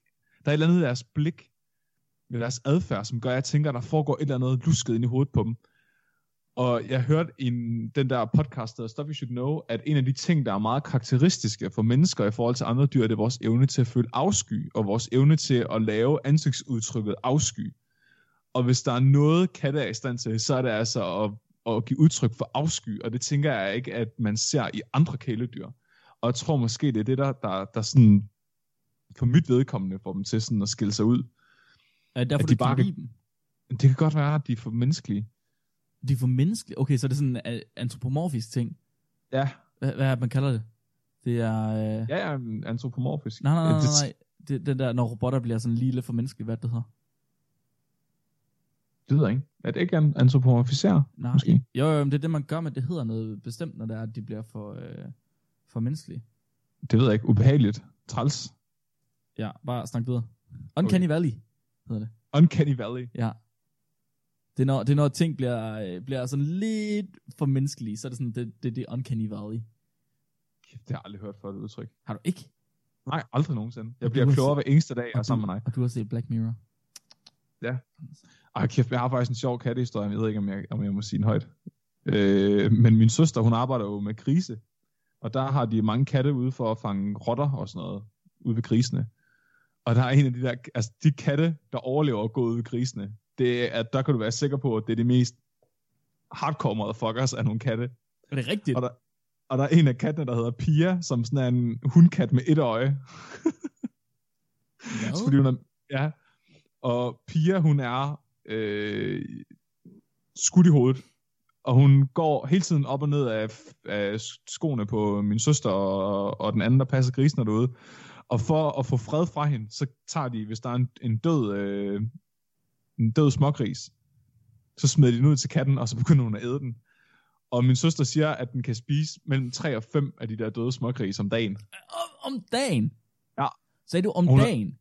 Der er et eller andet i deres blik, ved deres adfærd, som gør, at jeg tænker, at der foregår et eller andet lusket ind i hovedet på dem. Og jeg hørte i en- den der podcast, der hedder Stuff You Should Know, at en af de ting, der er meget karakteristiske for mennesker i forhold til andre dyr, det er vores evne til at føle afsky, og vores evne til at lave ansigtsudtrykket afsky. Og hvis der er noget, katte er i stand til, så er det altså at, at give udtryk for afsky, og det tænker jeg ikke, at man ser i andre kæledyr. Og jeg tror måske, det er det, der, der, der sådan, for mit vedkommende, får dem til sådan at skille sig ud.
er det derfor,
At
de
de
du bare...
bare
kan
kan-
lide dem?
Det kan godt være, at de er for menneskelige.
Det er for menneskeligt. Okay, så er det sådan en øh, antropomorfisk ting.
Ja,
Hvad, hvad er det, man kalder det? Det er... Øh...
ja, ja antropomorfisk.
Nej, nej, nej,
Det-
nej. nej. Det, den der, når robotter bliver sådan lige lidt for menneskelige, hvad er det, det hedder?
Det ved jeg ikke. Er det ikke an- antropomorfisere?
Nej,
Måske.
Jo, jo, men det er det, man gør, men det hedder noget bestemt, når det er, at de bliver for, øh, for menneskelige.
Det ved jeg ikke. Ubehageligt. Træls.
Ja, bare snak videre. Uncanny okay. Valley.
Uncanny Valley.
Ja. Det er når, det er når ting bliver, øh, bliver sådan lidt for menneskelige, så er det sådan, det, det, det er Uncanny Valley.
Kæft, det har jeg aldrig hørt for et udtryk.
Har du ikke?
Nej, aldrig nogensinde.
Og
Jeg bliver
du har
klogere hver eneste dag, jeg er
og
sammen med dig.
Og du har set Black Mirror.
Ej, kæft, jeg har faktisk en sjov kattehistorie. Jeg ved ikke, om jeg, om jeg må sige den højt. Øh, men min søster, hun arbejder jo med grise. Og der har de mange katte ude for at fange rotter og sådan noget ude ved grisene. Og der er en af de der, altså de katte, der overlever at gå ude ved grisene, det er, at der kan du være sikker på, at det er de mest hardcore motherfuckers af nogle katte.
Er det rigtigt?
Og der, og der er en af kattene, der hedder Pia, som sådan er en hundkat med et øje.
Hvad?
Fordi hun er, ja. Og Pia, hun er øh, skudt i hovedet. Og hun går hele tiden op og ned af, af skoene på min søster og, og den anden, der passer grisen derude. Og for at få fred fra hende, så tager de, hvis der er en, en død øh, en død smågris, så smider de den ud til katten, og så begynder hun at æde den. Og min søster siger, at den kan spise mellem 3 og 5 af de der døde smågris om dagen.
Om, om dagen?
Ja.
Sagde du om
Hun er-
dagen?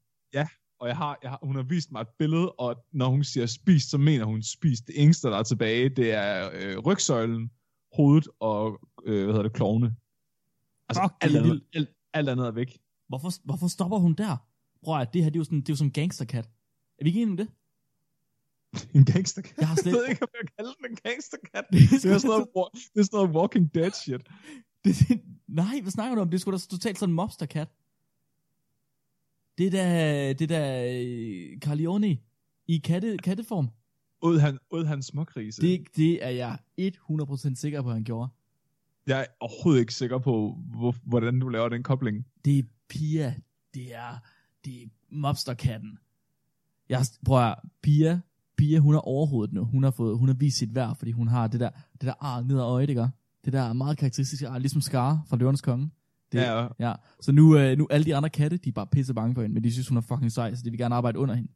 og jeg har, jeg har, hun har vist mig et billede, og når hun siger spist, så mener hun spist. Det eneste, der er tilbage, det er øh, rygsøjlen, hovedet og, øh, hvad hedder det, klovne. Altså,
Fuck, det
alt,
er
andet,
vildt.
alt, alt andet er væk.
Hvorfor, hvorfor stopper hun der? Prøv at det her, det er jo sådan, det er jo sådan en gangsterkat. Er vi ikke enige om det?
En gangsterkat.
Jeg har slet-
jeg ved ikke, om jeg kalder den en gangsterkat. Det er, sådan noget, wa- det er sådan noget Walking Dead shit.
det, det, nej, hvad snakker du om? Det skulle sgu da totalt sådan en mobsterkat. Det der, det der Carlione i katte, katteform.
Ud han, ud han smågrise. Det...
Det, det er jeg 100% sikker på, at han gjorde.
Jeg er overhovedet ikke sikker på, hvor, hvordan du laver den kobling.
Det er Pia. Det er, det er mobsterkatten. Jeg, prøv at høre, Pia, Pia, hun er overhovedet nu. Hun har, fået, hun har vist sit værd, fordi hun har det der, det der ar ned ad øjet, ikke? Det der er meget karakteristiske ar, ligesom Scar fra Løvernes Konge. Det-
Det... Ja,
Ja, så nu, øh, nu alle de andre katte, de er bare pisse bange for hende, men de synes, hun er fucking sej, så de vil gerne arbejde under hende.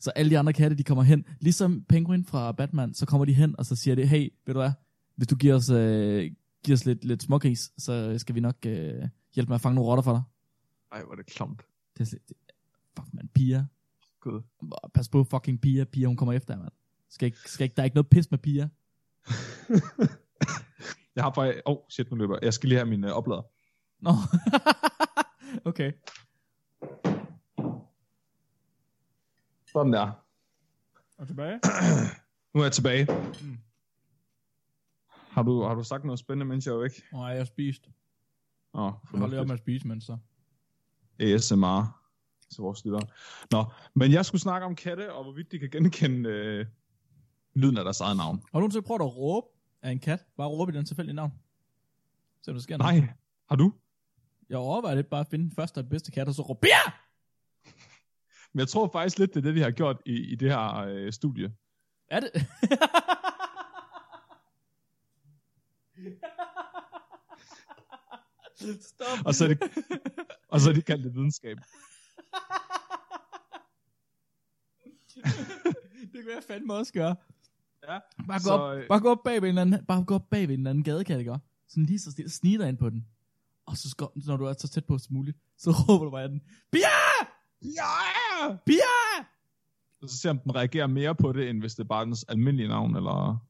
så alle de andre katte, de kommer hen, ligesom Penguin fra Batman, så kommer de hen, og så siger det, hey, ved du hvad, hvis du giver os øh, giver os lidt, lidt smågris, så skal vi nok øh, hjælpe med at fange nogle rotter for dig.
Ej, hvor er det klamt.
Det er slet, det, fuck, man, piger.
Gud.
Pas på fucking piger. Piger, hun kommer efter, jer, mand. Skal ikke, skal ikke, der er ikke noget pis med piger.
Jeg har faktisk... Åh, oh, shit, nu løber jeg. Jeg skal lige have min øh, oplader.
Nå. okay.
Sådan der.
Og tilbage.
Nu er jeg tilbage.
Mm.
Har du, har du sagt noget spændende, mens jeg er væk?
Nej, jeg har spist.
Åh, oh,
Hold lige op med at spise, mens så.
ASMR til vores lyttere. Nå, men jeg skulle snakke om katte, og hvorvidt de kan genkende øh, lyden af deres eget navn.
Har du nogensinde prøvet at råbe af en kat? Bare råbe i den tilfældige navn. Se, om der sker noget.
Nej, har du?
Jeg overvejer lidt bare at finde den første og den bedste kat, og så råbe, "Bia!"
Men jeg tror faktisk lidt, det er det, de har gjort i, i det her øh, studie.
Er det? Stop.
Og så er det, og så er de kaldt det videnskab.
det kunne jeg fandme også gøre.
Ja,
Bare gå,
så,
op,
øh,
bare gå op bag ved en eller anden, bare gå op bag ved en eller anden gadekat, ikke? også? Sådan lige så stille, sniger ind på den. Og så skal, når du er så tæt på som muligt, så råber du bare af den. Bia!
Ja!
Bia!
Og så ser om den reagerer mere på det, end hvis det er bare dens almindelige navn, eller...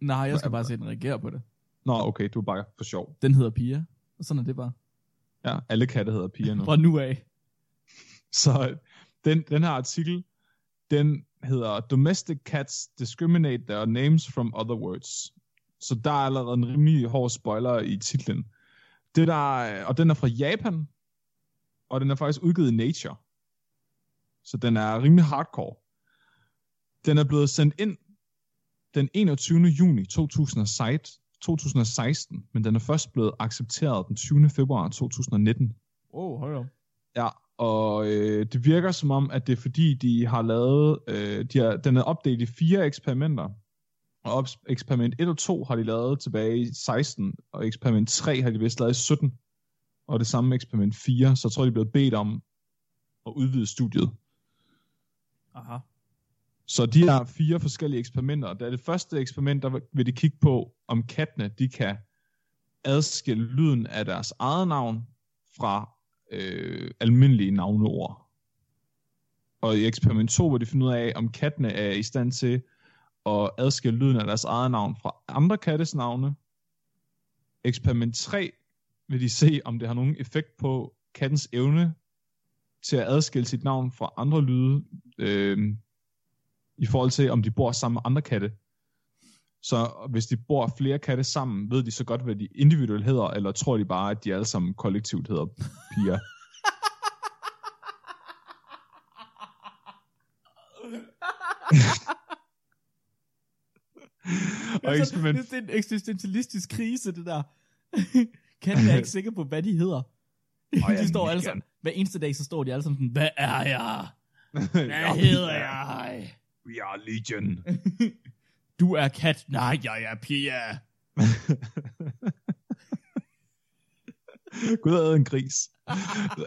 Nej, jeg skal bare se, at den reagerer på det.
Nå, okay, du er bare for sjov.
Den hedder Pia. Og sådan er det bare.
Ja, alle katte hedder piger nu.
Fra nu af.
Så øh, den, den her artikel, den hedder Domestic Cats Discriminate Their Names from Other Words. Så der er allerede en rimelig hård spoiler i titlen. Det der, øh, og den er fra Japan, og den er faktisk udgivet i Nature. Så den er rimelig hardcore. Den er blevet sendt ind den 21. juni 2016, 2016 men den er først blevet accepteret den 20. februar 2019.
Åh, oh, hold op.
Ja, og øh, det virker som om, at det er fordi, de har lavet, øh, de har, den er opdelt i fire eksperimenter. Og op, eksperiment 1 og 2 har de lavet tilbage i 16, og eksperiment 3 har de vist lavet i 17. Og det samme med eksperiment 4, så jeg tror de er blevet bedt om at udvide studiet.
Aha.
Så de har fire forskellige eksperimenter. Da det første eksperiment, der vil de kigge på, om kattene de kan adskille lyden af deres eget navn fra øh, almindelige navneord. Og i eksperiment 2 vil de finde ud af, om kattene er i stand til at adskille lyden af deres eget navn fra andre kattes navne. Eksperiment 3 vil de se, om det har nogen effekt på kattens evne til at adskille sit navn fra andre lyde. Øh, i forhold til, om de bor sammen med andre katte. Så hvis de bor flere katte sammen, ved de så godt, hvad de individuelt hedder, eller tror de bare, at de alle sammen kollektivt hedder piger. og
Det er, sådan,
eksperiment,
det, det er en eksistentialistisk krise, det der. Katten er ikke sikker på, hvad de hedder.
Åh, ja,
de står alle
mega.
sammen, hver eneste dag, så står de alle sammen sådan, hvad er jeg?
Ja,
Hvad hedder jeg?
We are legion.
Du er kat. Nej, jeg er Pia.
Gud ad en gris.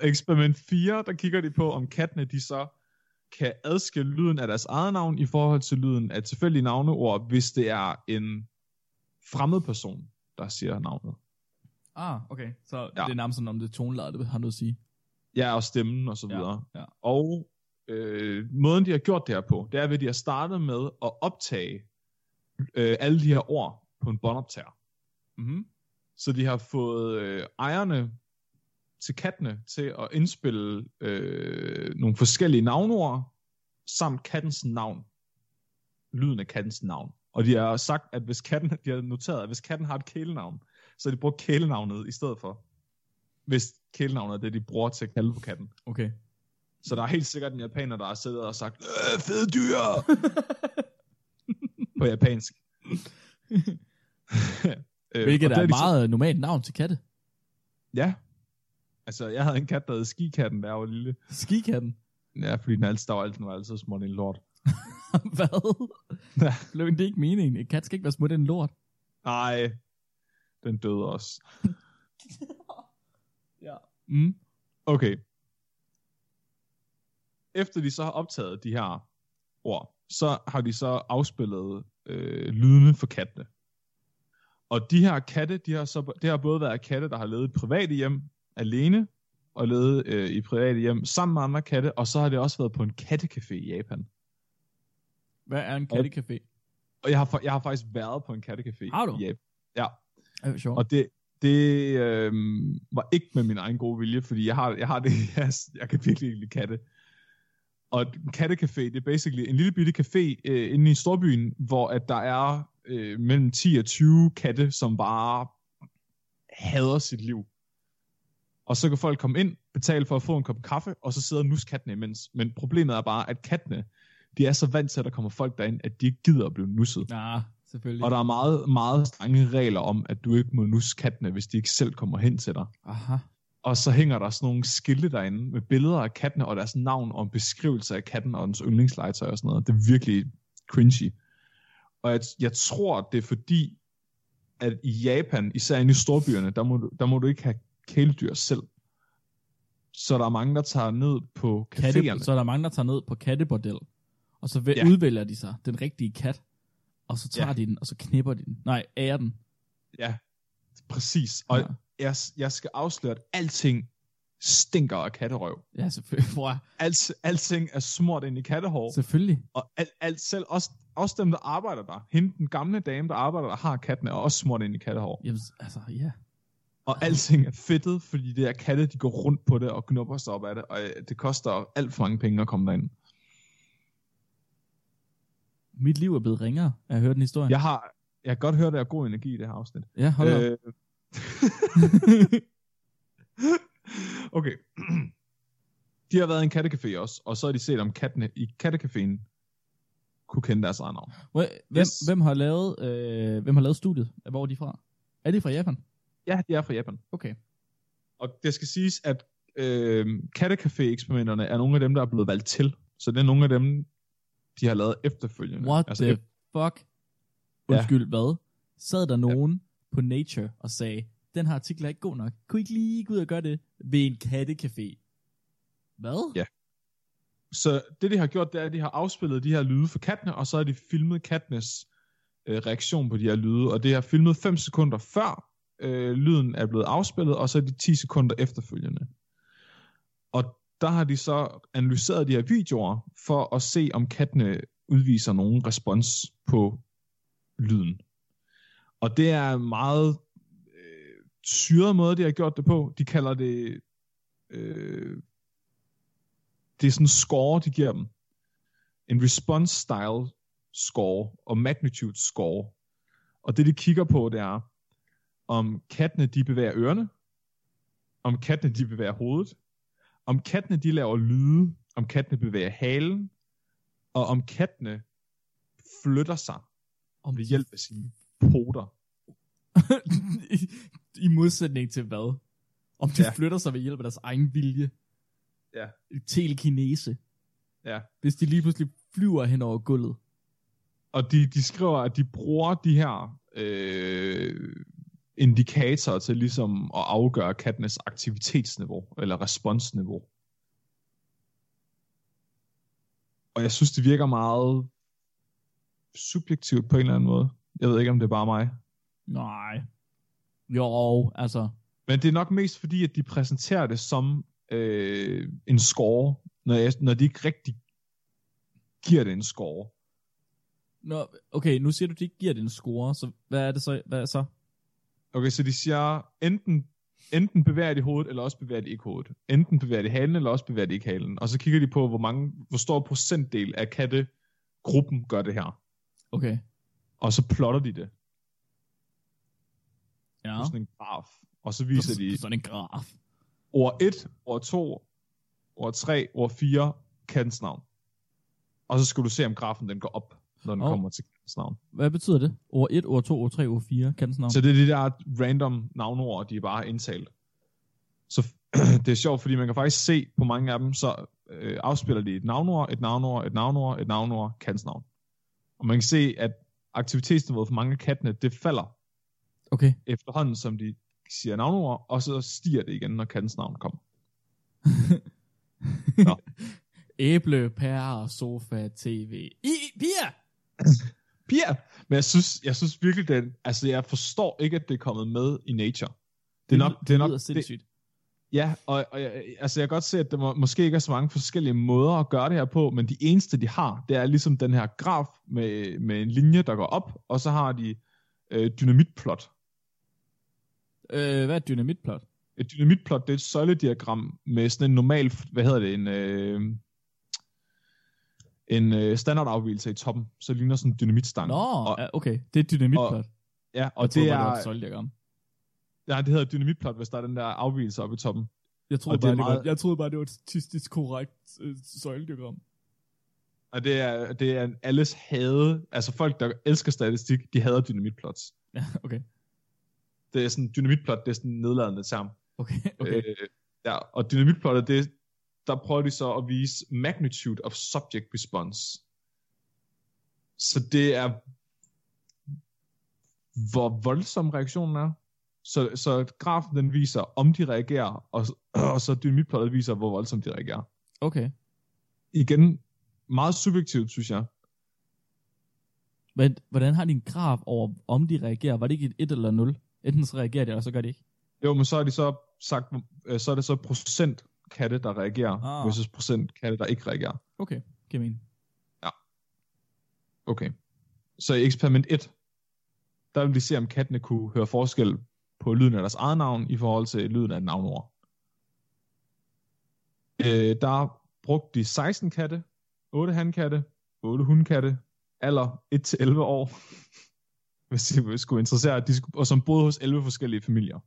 Eksperiment 4, der kigger de på, om kattene de så kan adskille lyden af deres eget navn i forhold til lyden af tilfældige navneord, hvis det er en fremmed person, der siger navnet.
Ah, okay. Så ja.
Ja.
det er nærmest sådan, om det er tonelaget, det har noget at sige.
Ja, og stemmen og så videre.
ja.
Og øh, måden, de har gjort det her på, det er ved, at de har startet med at optage øh, alle de her ord på en båndoptager.
Mm-hmm.
Så de har fået øh, ejerne til kattene til at indspille øh, nogle forskellige navnord, samt kattens navn. Lyden af kattens navn. Og de har sagt, at hvis katten, de har noteret, at hvis katten har et kælenavn, så har de brugt kælenavnet i stedet for. Hvis kælenavnet er det, de bruger til at kalde på katten.
Okay.
Så der er helt sikkert en japaner, der har siddet og sagt, øh, fede dyr!
Øh,
på japansk. Øh,
Hvilket
og
er
der
et
de så-
meget normalt navn til katte.
Ja. Altså, jeg havde en kat, der hed skikatten, da jeg var lille.
Skikatten.
Ja, fordi den altid, der var altid, den var altid smurt i en lort.
Hvad?
Ja.
Løven, det er ikke meningen. En kat skal ikke være smuttet en lort.
Nej, den døde også.
Mm.
Okay. Efter de så har optaget de her ord, så har de så afspillet øh, lydene for kattene. Og de her katte, de har så, det har både været katte, der har levet i private hjem alene, og levet øh, i private hjem sammen med andre katte, og så har det også været på en kattecafé i Japan.
Hvad er en kattecafé?
Og jeg har, fa- jeg har faktisk været på en kattecafé
Har du?
i Japan.
Er det sjovt?
Og det, det øh, var ikke med min egen gode vilje, fordi jeg har, jeg har det, jeg, jeg kan virkelig ikke lide katte. Og en kattecafé, det er basically en lille bitte café øh, inde i storbyen, hvor at der er øh, mellem 10 og 20 katte, som bare hader sit liv. Og så kan folk komme ind, betale for at få en kop kaffe, og så sidder nuskattene imens. Men problemet er bare, at kattene, de er så vant til, at der kommer folk derind, at de ikke gider at blive nusset.
Nej, Ah, selvfølgelig.
Og der er meget, meget strenge regler om, at du ikke må nusse kattene, hvis de ikke selv kommer hen til dig.
Aha.
Og så hænger der sådan nogle skilte derinde med billeder af kattene og deres navn og en beskrivelse af katten og dens yndlingslegetøj og sådan noget. Det er virkelig cringy. Og jeg, jeg tror, det er fordi, at i Japan, især inde i storbyerne, der må, du- der må du ikke have kæledyr selv. Så der er mange, der tager ned på
Katte,
caféerne.
så er der mange, der tager ned på kattebordel, og så
Ja.
ja. udvælger de sig den rigtige kat, og så tager
Ja.
ja. de den, og så knipper de den. Nej, ærer den.
Præcis. Og
Ja.
jeg, jeg skal afsløre, at alting stinker af katterøv.
Ja, selvfølgelig. Bror,
alt, alting er smurt ind i kattehår,
selvfølgelig.
og alt, alt selv, også, også dem, der arbejder der, hende, den gamle dame, der arbejder der, har kattene, er også smurt ind i kattehår.
Jamen, altså, ja.
Og alting er fedtet, fordi det er katte, de går rundt på det og knupper sig op af det, og øh, det koster alt for mange penge at komme derind.
Mit liv er blevet ringere, af at høre den historie.
Jeg har, jeg kan godt høre, der er god energi i det her afsnit.
ja hold øh, op.
Øh, okay. De har været i en kattecafé også, og så har de set om kattene i kattecaféen kunne kende deres eget navn.
Hvor- Hvem,
yes.
yes. hvem, har lavet, øh, hvem har lavet studiet? Hvor er de fra? Er de fra Japan?
Ja, de er fra Japan.
Okay.
Og det skal siges, at øh, kattecafé-eksperimenterne er nogle af dem, der er blevet valgt til. Så det er nogle af dem, de har lavet efterfølgende.
What
altså,
the
ef-
fuck?
Ja.
Undskyld, hvad? Sad der nogen ja. på Nature og sagde, den her artikel er ikke god nok. Kunne I ikke lige gå ud og gøre det ved en kattecafé? Hvad?
Ja. så det, de har gjort, det er, at de har afspillet de her lyde for kattene, og så har de filmet kattenes øh, reaktion på de her lyde. Og det har filmet 5 sekunder før øh, lyden er blevet afspillet, og så er de 10 sekunder efterfølgende. Og der har de så analyseret de her videoer for at se, om kattene udviser nogen respons på lyden. Og det er en meget øh, syret måde, de har gjort det på. De kalder det... Øh, det er sådan en score, de giver dem. En response style score og magnitude score. Og det, de kigger på, det er, om kattene de bevæger ørerne, om kattene de bevæger hovedet, om kattene de laver lyde, om kattene bevæger halen, og om kattene flytter sig
Om
ved hjælp af sine poter.
I- I modsætning til hvad? Om de
Ja.
ja. flytter sig ved hjælp af deres egen vilje.
Ja.
Telekinese.
Ja.
Hvis de lige pludselig flyver hen over gulvet.
Og de, de skriver, at de bruger de her øh, indikatorer til ligesom at afgøre kattenes aktivitetsniveau, eller responsniveau. Og jeg synes, det virker meget subjektivt på en eller anden måde. Jeg ved ikke, om det er bare mig.
Nej. Jo, altså.
Men det er nok mest fordi, at de præsenterer det som øh, en score, når, jeg, når de ikke rigtig giver det en score.
Nå, okay, nu siger du, de ikke giver det en score, så hvad er det så? Hvad er så?
Okay, så de siger, enten, enten bevæger de hovedet, eller også bevæger de ikke hovedet. Enten bevæger de halen, eller også bevæger de ikke halen. Og så kigger de på, hvor, mange, hvor stor procentdel af kattegruppen gør det her.
Okay.
Og så plotter de det
Ja.
på sådan en graf. Og så
På
viser
s- på
de
sådan en graf.
ord 1, ord 2, ord 3, ord 4, kattens navn. Og så skal du se, om grafen den går op, når den oh.
Åh.
kommer til kattens navn.
Hvad betyder det? Ord 1, ord 2, ord 3, ord 4. Kan sådan
Så det er de der random navnord, de er bare indtalt. Så det er sjovt, fordi man kan faktisk se på mange af dem, så øh, afspiller de et navnord, et navnord, et navnord, et navnord, kattens navn. Og man kan se, at aktivitetsniveauet for mange af kattene, det falder
Okay.
efterhånden, som de siger navnord, og så stiger det igen, når kattens navn kommer. Nå.
Æble, pære, sofa, tv. I, piger!
papir. Men jeg synes, jeg synes virkelig, den, altså jeg forstår ikke, at det er kommet med i Nature. Det er nok, det er nok,
lyder
det,
sindssygt.
ja, og, og jeg, altså jeg kan godt se, at der må, måske ikke er så mange forskellige måder at gøre det her på, men de eneste, de har, det er ligesom den her graf med, med en linje, der går op, og så har de øh, dynamitplot.
Øh, hvad er dynamitplot?
Et dynamitplot, det er et søjlediagram med sådan en normal, hvad hedder det, en, øh, en øh, standardafvielse i toppen, så det ligner sådan en dynamitstang.
Nå,
og,
ja, okay. Det er et dynamitplot.
ja, og
Jeg
det,
troede bare,
er,
var et soldiagram.
ja, det hedder dynamitplot, hvis der er den der afvielse oppe i toppen.
Jeg troede,
Og det
bare,
er
det var,
meget-
jeg troede bare, det var et statistisk korrekt øh, søjlediagram.
Og det er, det er alles hade, altså folk, der elsker statistik, de hader dynamitplots.
Ja, okay.
Det er sådan, dynamitplot, det er sådan en nedladende term.
Okay, okay.
Øh, ja, og dynamitplottet, det, der prøver de så at vise magnitude of subject response. Så det er, hvor voldsom reaktionen er. Så, så grafen den viser, om de reagerer, og, og så dynamitplottet viser, hvor voldsomt de reagerer.
okay.
Igen, meget subjektivt, synes jeg.
Men, hvordan har de en graf over, om de reagerer? Var det ikke et 1 eller 0? Enten så reagerer de, eller så gør de ikke.
Jo, men så er de så sagt, øh, så er det så procent katte, der reagerer,
Ah.
ah. versus procent katte, der ikke reagerer.
Okay, giver mening.
Okay. Så i eksperiment 1, der vil de se, om kattene kunne høre forskel på lyden af deres eget navn i forhold til lyden af et navnord. Øh, der brugte de 16 katte, 8 handkatte, 8 hundkatte, alder 1-11 år, hvis de skulle interessere, de skulle, og som boede hos 11 forskellige familier.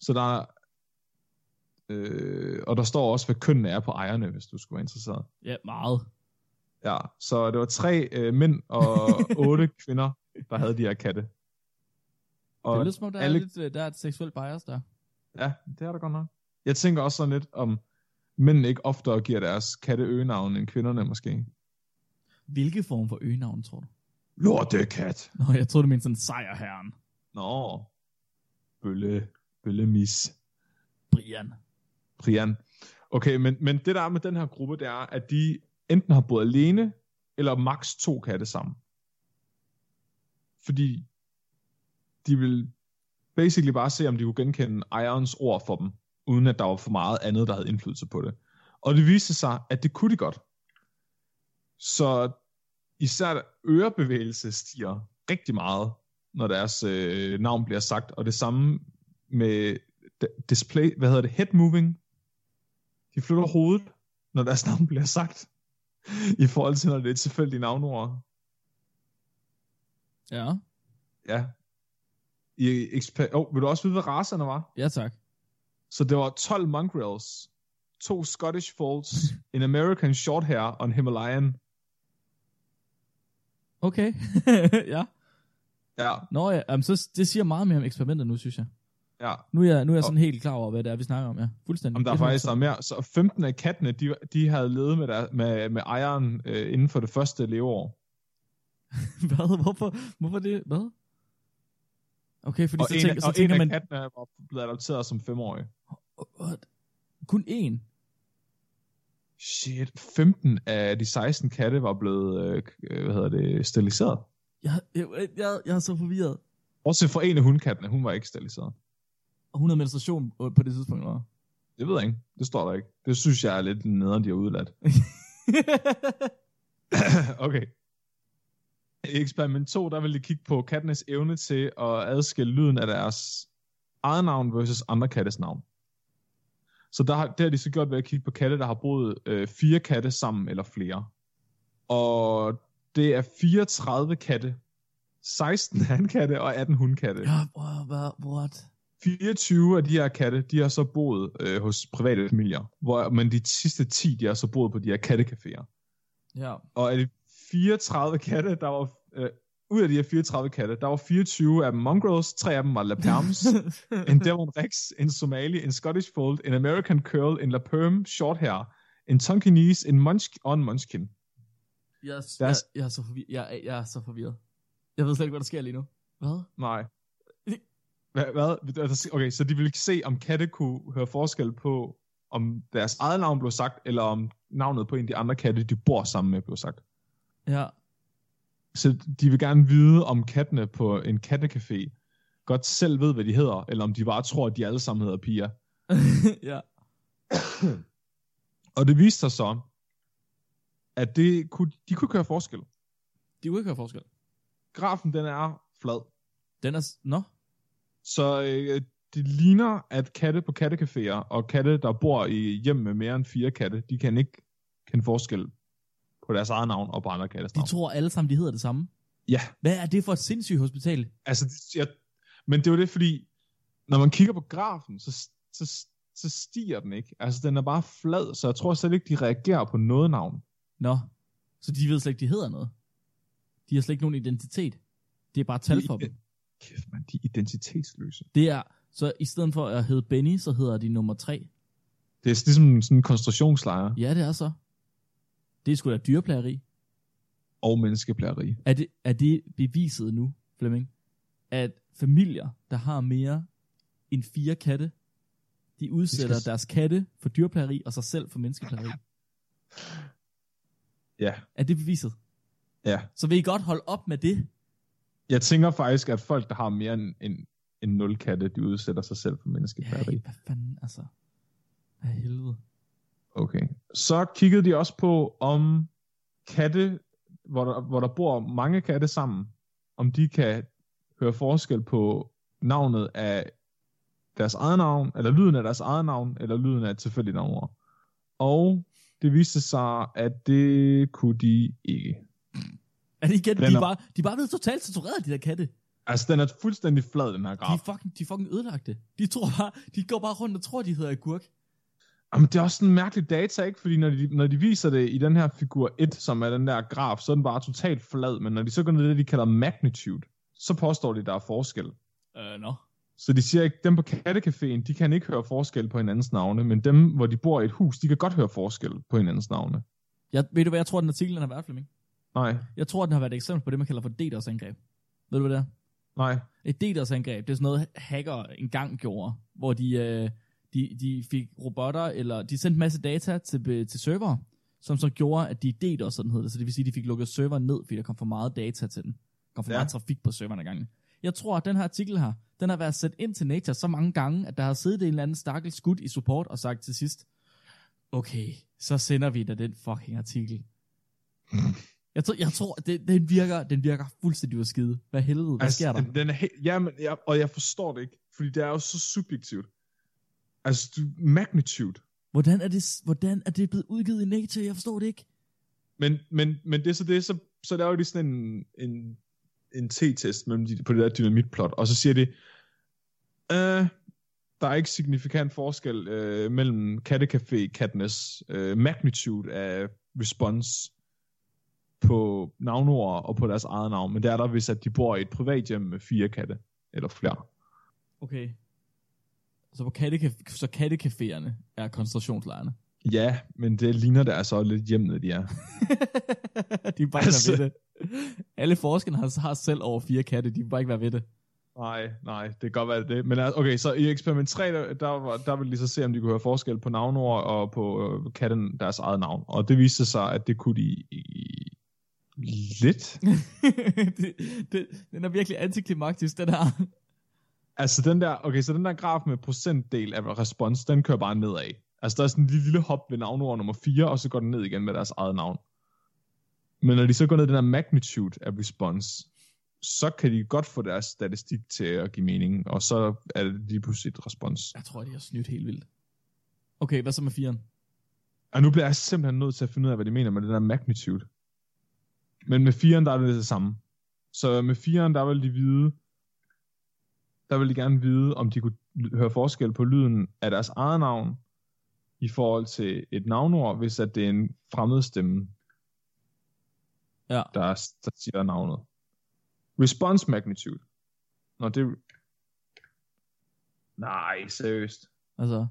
Så der er, øh, og der står også, hvad kønnene er på ejerne, hvis du skulle være interesseret.
Ja, meget.
Ja, så det var tre øh, mænd og otte kvinder, der havde de her katte.
Og det
Og
lyder som om, der, alle...
alle-
er lidt, øh, der er et seksuelt bias der.
ja, det er der godt nok. Jeg tænker også sådan lidt om, mændene ikke oftere giver deres katte øgenavn end kvinderne måske.
Hvilke form for øgenavn, tror du?
Lortekat.
Nå, jeg tror du mente sådan sejrherren.
Nå. Bølle. Bøllemis.
Brian.
Brian. Okay, men, men det der er med den her gruppe, det er, at de enten har boet alene, eller maks to katte sammen. Fordi de vil basically bare se, om de kunne genkende ejerens ord for dem, uden at der var for meget andet, der havde indflydelse på det. Og det viste sig, at det kunne de godt. Så især ørebevægelse stiger rigtig meget, når deres øh, navn bliver sagt, og det samme med d- display, hvad hedder det, head moving. De flytter hovedet, når deres navn bliver sagt, i forhold til, når det er tilfældige navnord.
Ja,
Ja. I eksper- oh, vil du også vide, hvad racerne var?
ja tak.
Så det var 12 mongrels, to Scottish folds, en American shorthair og en Himalayan.
Okay, ja.
Ja,
Nå ja, jamen, så, det siger meget mere om eksperimentet nu, synes jeg.
ja.
Nu er jeg, nu er jeg sådan helt klar over, hvad det er, vi snakker om, ja. Fuldstændig.
Om der er faktisk der er mere. Så 15 af kattene, de, de havde levet med, der, med, med ejeren øh, inden for det første leveår.
Hvad? Hvorfor? Hvorfor det? Hvad? Okay, fordi
Og
så,
en,
tænker,
af-
så
og en
tænker
af
man...
kattene var blevet adopteret som femårig.
What? Kun én?
Shit, 15 af de 16 katte var blevet, øh, øh, hvad hedder det, steriliseret.
Jeg, jeg, jeg, jeg er så forvirret.
Også for en af hundkattene, hun var ikke steriliseret.
Og hun havde menstruation øh, på det tidspunkt, eller? hvad?
Det ved jeg ikke, det står der ikke. Det synes jeg er lidt nederen, de har udladt. okay. I eksperiment 2, der vil de kigge på kattenes evne til at adskille lyden af deres eget navn versus andre kattes navn. Så der, har- det har de så gjort ved at kigge på katte, der har boet øh, fire katte sammen eller flere. Og det er 34 katte, 16 hankatte og 18 hundkatte.
ja, wow, hvad, what?
24 af de her katte, de har så boet øh, hos private familier, hvor, men de sidste 10, de har så boet på de her kattecaféer.
Ja,
Og af de 34 katte, der var, øh, ud af de her 34 katte, der var 24 af dem mongrels, tre af dem var laperms, en Devon Rex, en Somali, en Scottish Fold, en American Curl, en Laperm, Shorthair, en Tonkinese, en Munch og en Munchkin.
jeg, er- jeg,
Deres-
jeg, er så forvirret. Jeg, er- jeg er så forvirret. Jeg ved slet ikke, hvad der sker lige nu. Hvad?
Nej. Hvad? hvad? Altså, Okay, så de ville ikke se, om katte kunne høre forskel på, om deres eget navn blev sagt, eller om navnet på en af de andre katte, de bor sammen med, blev sagt.
Ja.
Så de vil gerne vide, om kattene på en kattecafé godt selv ved, hvad de hedder, eller om de bare tror, at de alle sammen hedder Pia.
ja.
Og det viste sig så, at det kunne, de kunne gøre forskel.
De kunne ikke høre forskel.
Grafen, den er flad.
Den er... s- Nå?
Så øh, det ligner, at katte på kattecaféer og katte, der bor i hjem med mere end fire katte, de kan ikke kende forskel på deres eget navn og på andre kattes
De
navn.
tror alle sammen, de hedder det samme.
Ja.
Hvad er det for et sindssygt hospital?
Altså, det- jeg, men det er jo det, fordi når man kigger på grafen, så, så, så stiger den ikke. Altså, den er bare flad, så jeg tror slet ikke, de reagerer på noget navn.
Nå. Så de ved slet ikke, de hedder noget. De har slet ikke nogen identitet. Det er bare tal for dem.
Kæft, man, de er identitetsløse.
Det er... Så i stedet for at hedde Benny, så hedder de nummer tre.
Det er ligesom sådan en koncentrationslejr
Ja, det er så. Det er sgu da dyreplageri.
og menneskeplageri.
Er det, er det beviset nu, Flemming, at familier, der har mere end fire katte, de udsætter
skal-
deres katte for dyrplageri og sig selv for menneskeplageri?
Ja,
Er det beviset?
ja.
Så vil I godt holde op med det?
Jeg tænker faktisk, at folk, der har mere end, end, end 0 katte, de udsætter sig selv for
Ja,
menneskeplageri.
hvad fanden, altså. Hvad helvede.
Okay. Så kiggede de også på, om katte, hvor der, hvor der bor mange katte sammen, om de kan høre forskel på navnet af deres eget navn, eller lyden af deres eget navn, eller lyden af et tilfældigt navnord. Og det viste sig, at det kunne de ikke.
Er det igen, de
Den
er
er-
bare, de er bare blevet totalt censureret, de der katte.
Altså, den er fuldstændig flad, den her
De
graf.
er fucking, de er fucking ødelagte. De, tror bare, de går bare rundt og tror, de hedder agurk.
Jamen, det er også sådan mærkelig data, ikke? Fordi når de, når de viser det i den her figur 1, som er den der graf, så er den bare totalt flad. Men når de så går ned i det, de kalder magnitude, så påstår de, der er forskel.
Øh, uh, nå. No.
Så de siger ikke, dem på kattecaféen, de kan ikke høre forskel på hinandens navne, men dem, hvor de bor i et hus, de kan godt høre forskel på hinandens navne.
Jeg, ved du hvad, jeg tror, den artikel den har været, Flemming?
Nej,
Jeg tror, den har været et eksempel på det, man kalder for DDoS-angreb. Ved du, hvad det er?
nej.
Et DDoS-angreb, det er sådan noget, hacker engang gjorde, hvor de, øh, de, de fik robotter, eller de sendte en masse data til, be- til server, som så gjorde, at de DDoS, sådan hed det, så det vil sige, at de fik lukket serveren ned, fordi der kom for meget data til den. Der kom for ja.
Ja.
meget trafik på serveren ad gangen. Jeg tror, at den her artikel her, den har været sat ind til Nature så mange gange, at der har siddet en eller anden stakkels skud i support og sagt til sidst, okay, så sender vi da den fucking artikel. Jeg tror, jeg tror den, den, virker, den virker fuldstændig ud af skide. Hvad helvede, hvad sker der?
Altså, Den, den er helt, jamen, jeg, og jeg forstår det ikke, fordi det er jo så subjektivt. Altså, du, magnitude.
Hvordan er, det, hvordan er det blevet udgivet i Nature? Jeg forstår det ikke.
Men, men, men det er så det, så, så laver de sådan en, en, en t-test mellem de, på det der dynamitplot, og så siger de, øh, der er ikke signifikant forskel øh, mellem kattecafé-kattenes øh, magnitude af respons på navnord og på deres eget navn, men det er der, hvis at de bor i et privat hjem med fire katte eller flere.
Okay. Så, på kattecaf- så kattecaféerne er koncentrationslejrene.
Ja, men det ligner det altså lidt hjemmet, de er.
de vil bare ikke altså...
Altså-
være ved det. Alle forskerne har, har selv over fire katte, de vil bare ikke være ved det.
Nej, nej, det kan godt være det. er det. Men altså, okay, så i eksperiment 3, der, der, var, der ville de så se, om de kunne høre forskel på navnord og på øh, katten deres eget navn. Og det viste sig, at det kunne de i, i, lidt.
det, det, den er virkelig antiklimaktisk, den her.
Altså den der, okay, så den der graf med procentdel af respons, den kører bare nedad. Altså der er sådan en lille, lille hop ved navnord nummer 4, og så går den ned igen med deres eget navn. Men når de så går ned i den der magnitude af respons, så kan de godt få deres statistik til at give mening, og så er det lige pludselig et respons.
Jeg tror, de har snydt helt vildt. Okay, hvad så med firen?
Og nu bliver jeg simpelthen nødt til at finde ud af, hvad de mener med den der magnitude. Men med 4'eren, der er det det samme. Så med 4'eren, der vil de vide, der vil de gerne vide, om de kunne l- høre forskel på lyden af deres eget navn, i forhold til et navnord, hvis at det er en fremmed stemme,
Ja.
der, der siger navnet. Response magnitude. Nå, det... Nej, seriøst
Altså,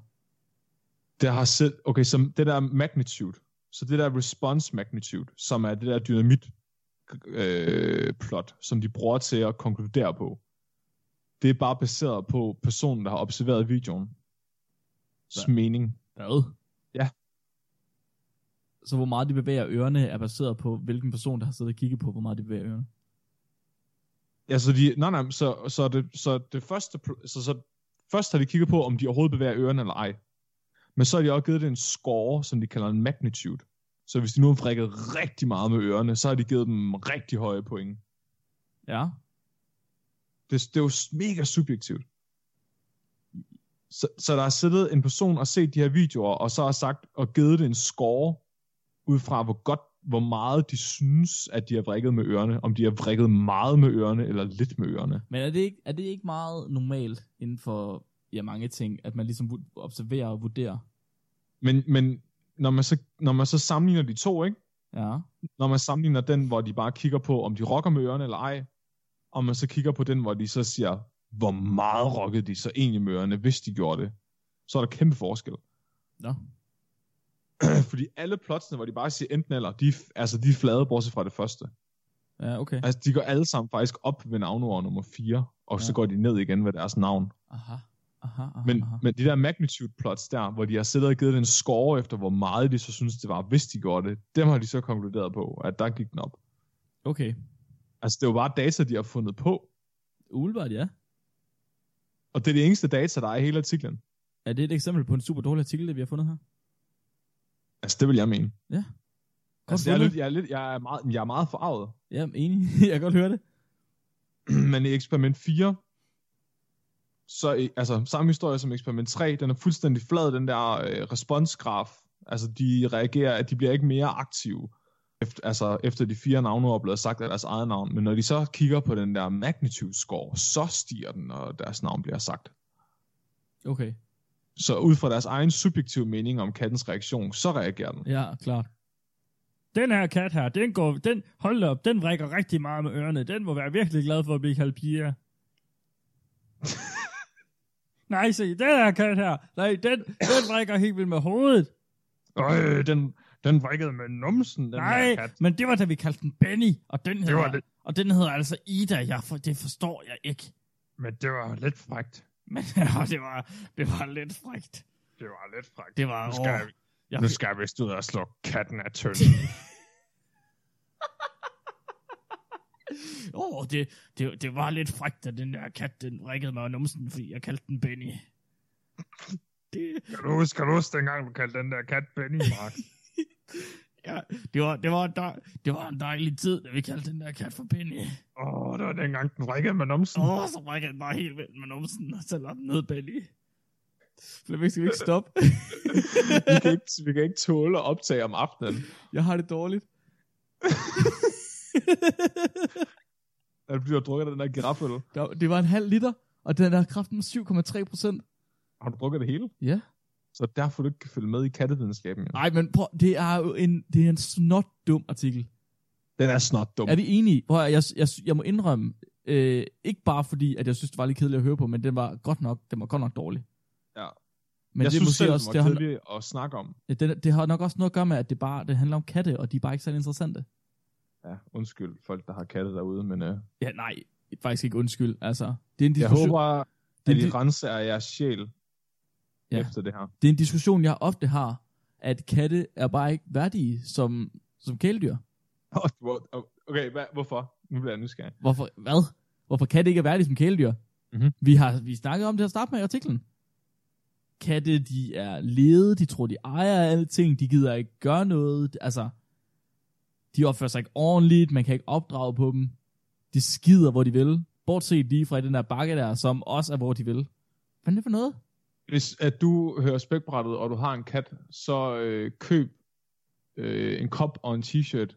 der har selv, okay, som det der magnitude, så det der response magnitude, som er det der dynamit øh, plot, som de bruger til at konkludere på, det er bare baseret på personen, der har observeret videoen.
Hvad?
mening.
hvad?
Ja.
Så hvor meget de bevæger ørerne er baseret på, hvilken person, der har siddet og kigget på, hvor meget de bevæger ørerne.
Ja, så de, nej, nej, så, så, det, så det første, pr- så, så først har de kigget på, om de overhovedet bevæger ørerne eller ej. Men så har de også givet det en score, som de kalder en magnitude. Så hvis de nu har frikket rigtig meget med ørerne, så har de givet dem rigtig høje point.
Ja.
Det, det er jo s- mega subjektivt. Så, så der har siddet en person og set de her videoer, og så har sagt og givet det en score, ud fra hvor godt, hvor meget de synes, at de har vrikket med ørerne. Om de har vrikket meget med ørerne, eller lidt med ørerne.
Men er det ikke, er det ikke meget normalt inden for ja, mange ting, at man ligesom vur- observerer og vurderer?
Men, men når, man så, når man så sammenligner de to, ikke?
Ja.
når man sammenligner den, hvor de bare kigger på, om de rocker med ørerne eller ej, og man så kigger på den, hvor de så siger, hvor meget rockede de så egentlig med ørerne, hvis de gjorde det, så er der kæmpe forskel.
Nå.
Fordi alle plotsene, hvor de bare siger enten eller, de, er- altså de er flade, bortset fra det første.
Ja, okay.
Altså de går alle sammen faktisk op ved navnord nummer 4, og ja.
Ja.
så går de ned igen ved deres navn.
Aha. Aha, aha,
Men,
aha.
men de der magnitude plots der, hvor de har siddet og givet den score efter, hvor meget de så synes, det var, hvis de gjorde det, dem har de så konkluderet på, at der gik den op.
Okay.
Altså det er jo bare data, de har fundet på,
Umiddelbart, ja.
Og det er det eneste data, der er i hele artiklen.
Er det et eksempel på en super dårlig artikel, det vi har fundet her?
Altså, det vil jeg mene.
Godt
Altså, jeg, er
fundet.
lidt, jeg, er lidt, jeg, er meget, jeg er meget forarvet.
Ja, enig. jeg kan godt høre det.
Men i eksperiment 4, så i- altså samme historie som eksperiment 3, den er fuldstændig flad, den der øh, responsgraf. Altså, de reagerer, at de bliver ikke mere aktive, efter, altså, efter de fire navne er blevet sagt af deres eget navn. Men når de så kigger på den der magnitude score, så stiger den, når deres navn bliver sagt.
Okay.
Så ud fra deres egen subjektive mening om kattens reaktion, så reagerer den.
Ja, klart.
Den her kat her, den går, den, hold da op, den rækker rigtig meget med ørerne. Den må være virkelig glad for at blive kaldt Pia. Nej, se, den her kat her, nej, den, den rækker helt vildt med hovedet.
Øh, den, den vrikkede med numsen, den
Nej,
her kat.
men det var da vi kaldte den Benny, og den
Det var
hedder,
det.
og den hedder altså Ida, jeg for, det forstår jeg ikke.
Men det var lidt frægt.
Men ja, det var, det var lidt frækt.
Det var lidt frægt.
Det var,
Nu skal
åh,
jeg-
jeg,
Nu skal jeg vist ud og slå katten af tønden.
Åh, oh, det, det, det var lidt frækt, at den der kat, den rækkede mig om numsen, fordi jeg kaldte den Benny. Det,
kan, du huske, kan du huske dengang, du kaldte den der kat Benny, Mark?
ja, det, var, det, var en dej, det var en dejlig tid, da vi kaldte den der kat for Benny.
Åh, oh, det var dengang, den vrikkede med numsen.
Åh, oh, så rækkede den bare helt vildt med numsen, og så lagde den ned Benny.
Flemming, skal vi ikke stoppe?
vi, kan ikke, vi kan ikke tåle at optage om aftenen.
jeg har det dårligt.
At bliver drukket af den der girafføl.
Der, det var en halv liter, og den er kraften 7,3 procent.
Har du drukket det hele?
Ja.
Så derfor du ikke kan følge med i kattevidenskaben. Ja.
Nej, men prøv, det er jo en, det er en snot dum artikel.
Den er snot dum.
Er vi enige? Prøv, at- jeg, jeg, jeg må indrømme, øh, ikke bare fordi, at jeg synes, det var lidt kedeligt at høre på, men den var godt nok, den var godt nok dårlig.
Ja.
Men
jeg
det er
synes
måske
selv,
også,
det
det
var
har,
kedeligt at snakke om.
ja, det, det har nok også noget at gøre med, at det bare det handler om katte, og de er bare ikke så interessante.
Ja, undskyld folk, der har katte derude, men øh,
Ja, nej, faktisk ikke undskyld. Altså, det er en
jeg
diskussion,
håber, at
det, er
I
en, di-
renser jeres sjæl
Ja.
ja. efter det her.
det er en diskussion, jeg ofte har, at katte er bare ikke værdige som, som kæledyr.
Åh, hvor- Okay, hvad, hvorfor? Nu bliver jeg nysgerrig.
Hvorfor, hvad? Hvorfor katte ikke er værdige som kæledyr?
Mhm.
Vi har vi snakkede om det at starte med i artiklen. Katte, de er lede, de tror, de ejer alting, de gider ikke gøre noget. Altså, de opfører sig ikke ordentligt, man kan ikke opdrage på dem. De skider, hvor de vil. Bortset lige fra i den der bakke der, som også er, hvor de vil. Hvad er det for noget?
Hvis at du hører spækbrættet, og du har en kat, så øh, køb øh, en kop og en t-shirt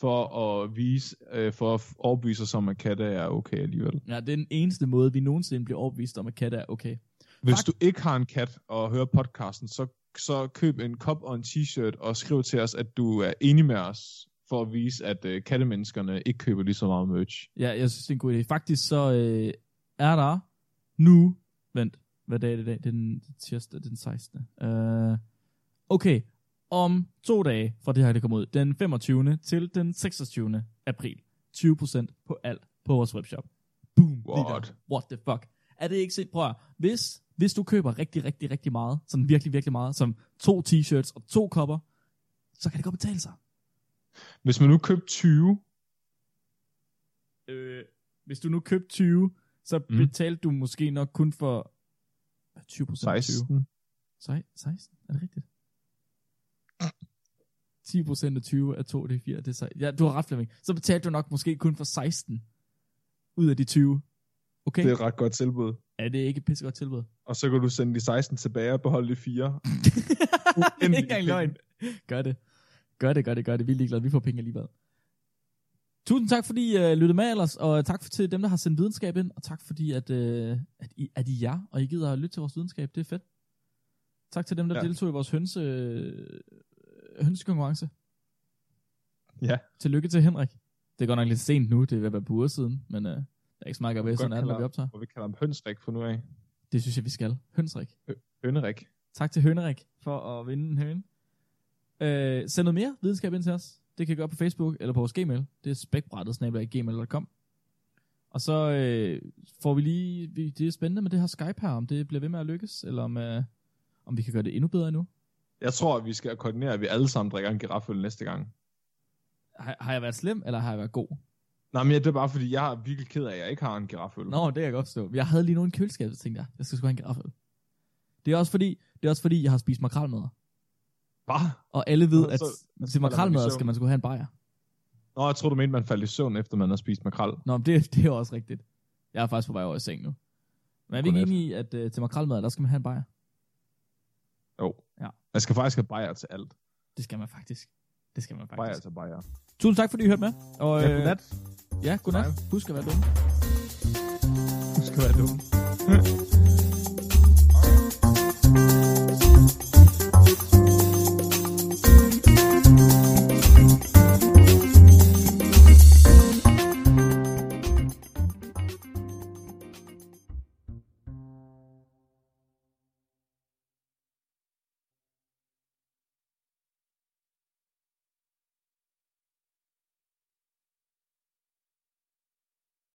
for at vise, øh, for at f- overbevise os om, at katte er okay alligevel.
Ja, det er den eneste måde, vi nogensinde bliver overbevist om, at katte er okay.
Hvis
Fakt-
du ikke har en kat og hører podcasten, så, så køb en kop og en t-shirt og skriv til os, at du er enig med os, for at vise, at øh, kattemenneskerne ikke køber lige så meget merch.
Ja, jeg synes, det er en god idé. Faktisk så øh, er der nu... Vent, hvad dag er det i dag? Det er den tirsdag, det er den 16. Uh, okay, om to dage fra det her, det kommer ud, den 25. til den 26. april. 20% på alt på vores webshop. Boom. lige der.
What?
What the fuck? Er det ikke sindssygt? Prøv at, høre. hvis, hvis du køber rigtig, rigtig, rigtig meget, sådan virkelig, virkelig meget, som to t-shirts og to kopper, så kan det godt betale sig.
Hvis man nu købte 20,
Øh, Hvis du nu købte 20, så
Mm.
mm. betalte du måske nok kun for 20 procent.
16.
16? Er det rigtigt? 10 procent af 20 er 2, det er 4, det er 16. Ja, du har ret, Flemming. Så betalte du nok måske kun for 16 ud af de 20. Okay?
Det er et ret godt tilbud.
er det ikke et pissegodt tilbud?
Og så kan du sende de 16 tilbage og beholde de 4.
det er ikke
Uendelige
engang
penge.
løgn. Gør det. Gør det, gør det, gør det. Vi er ligeglade. Vi får penge alligevel. Tusind tak, fordi I øh, lyttede med ellers, og tak for, til dem, der har sendt videnskab ind, og tak fordi, at, øh, at, I, at I er jer, og I gider at lytte til vores videnskab. Det er fedt. Tak til dem, der
Ja.
ja. deltog i vores hønse, øh, hønsekonkurrence.
Ja.
Tillykke til Henrik. Det er godt nok lidt sent nu, det er ved at være på uger siden, men øh, der er ikke så meget at gøre ved,
Godt
sådan er det, når
klar.
vi optager.
Og vi kalder ham Hønsrik for nu af.
Det synes jeg, vi skal. Hønsrik.
Hønerik.
Tak til Hønerik for at vinde en høne. Øh, send noget mere videnskab ind til os. Det kan I gøre på Facebook eller på vores gmail. Det er spækbrættet-gmail.com Og så øh, får vi lige... Vi, det er spændende med det her Skype her, om det bliver ved med at lykkes, eller om, øh, om vi kan gøre det endnu bedre endnu.
Jeg tror, at vi skal koordinere, at vi alle sammen drikker en girafføl næste gang.
Har, har jeg været slem, eller har jeg været god?
Nej, men det er bare fordi, jeg er virkelig ked af, at jeg ikke har en girafføl.
Nå, det kan jeg godt forstå. Jeg havde lige nogen i køleskabet, så tænkte jeg, jeg skal sgu have en giraffel. Det er også fordi, det er også fordi jeg har spist makralmadder.
Bare?
Og alle ved,
Nå,
at
så-
til
man i
makralmadder
søvn.
skal man sgu have en bajer.
Nå, jeg tror du mente, man faldt i søvn, efter man har spist makrel.
Nå, men det, det er jo også rigtigt. Jeg er faktisk på vej over i seng nu. Men er vi ikke
Godnat.
enige i, at øh, til makralmad, der skal man have en bajer?
Jo.
Ja.
Man skal faktisk have bajer til alt.
Det skal man faktisk. Det skal man faktisk. Øh,
Bajer til bajer.
altså. Tusind tak, fordi I hørte med. Og,
Ja, godnat.
Ja, godnat. Husk at være dumme.
Du skal være dum.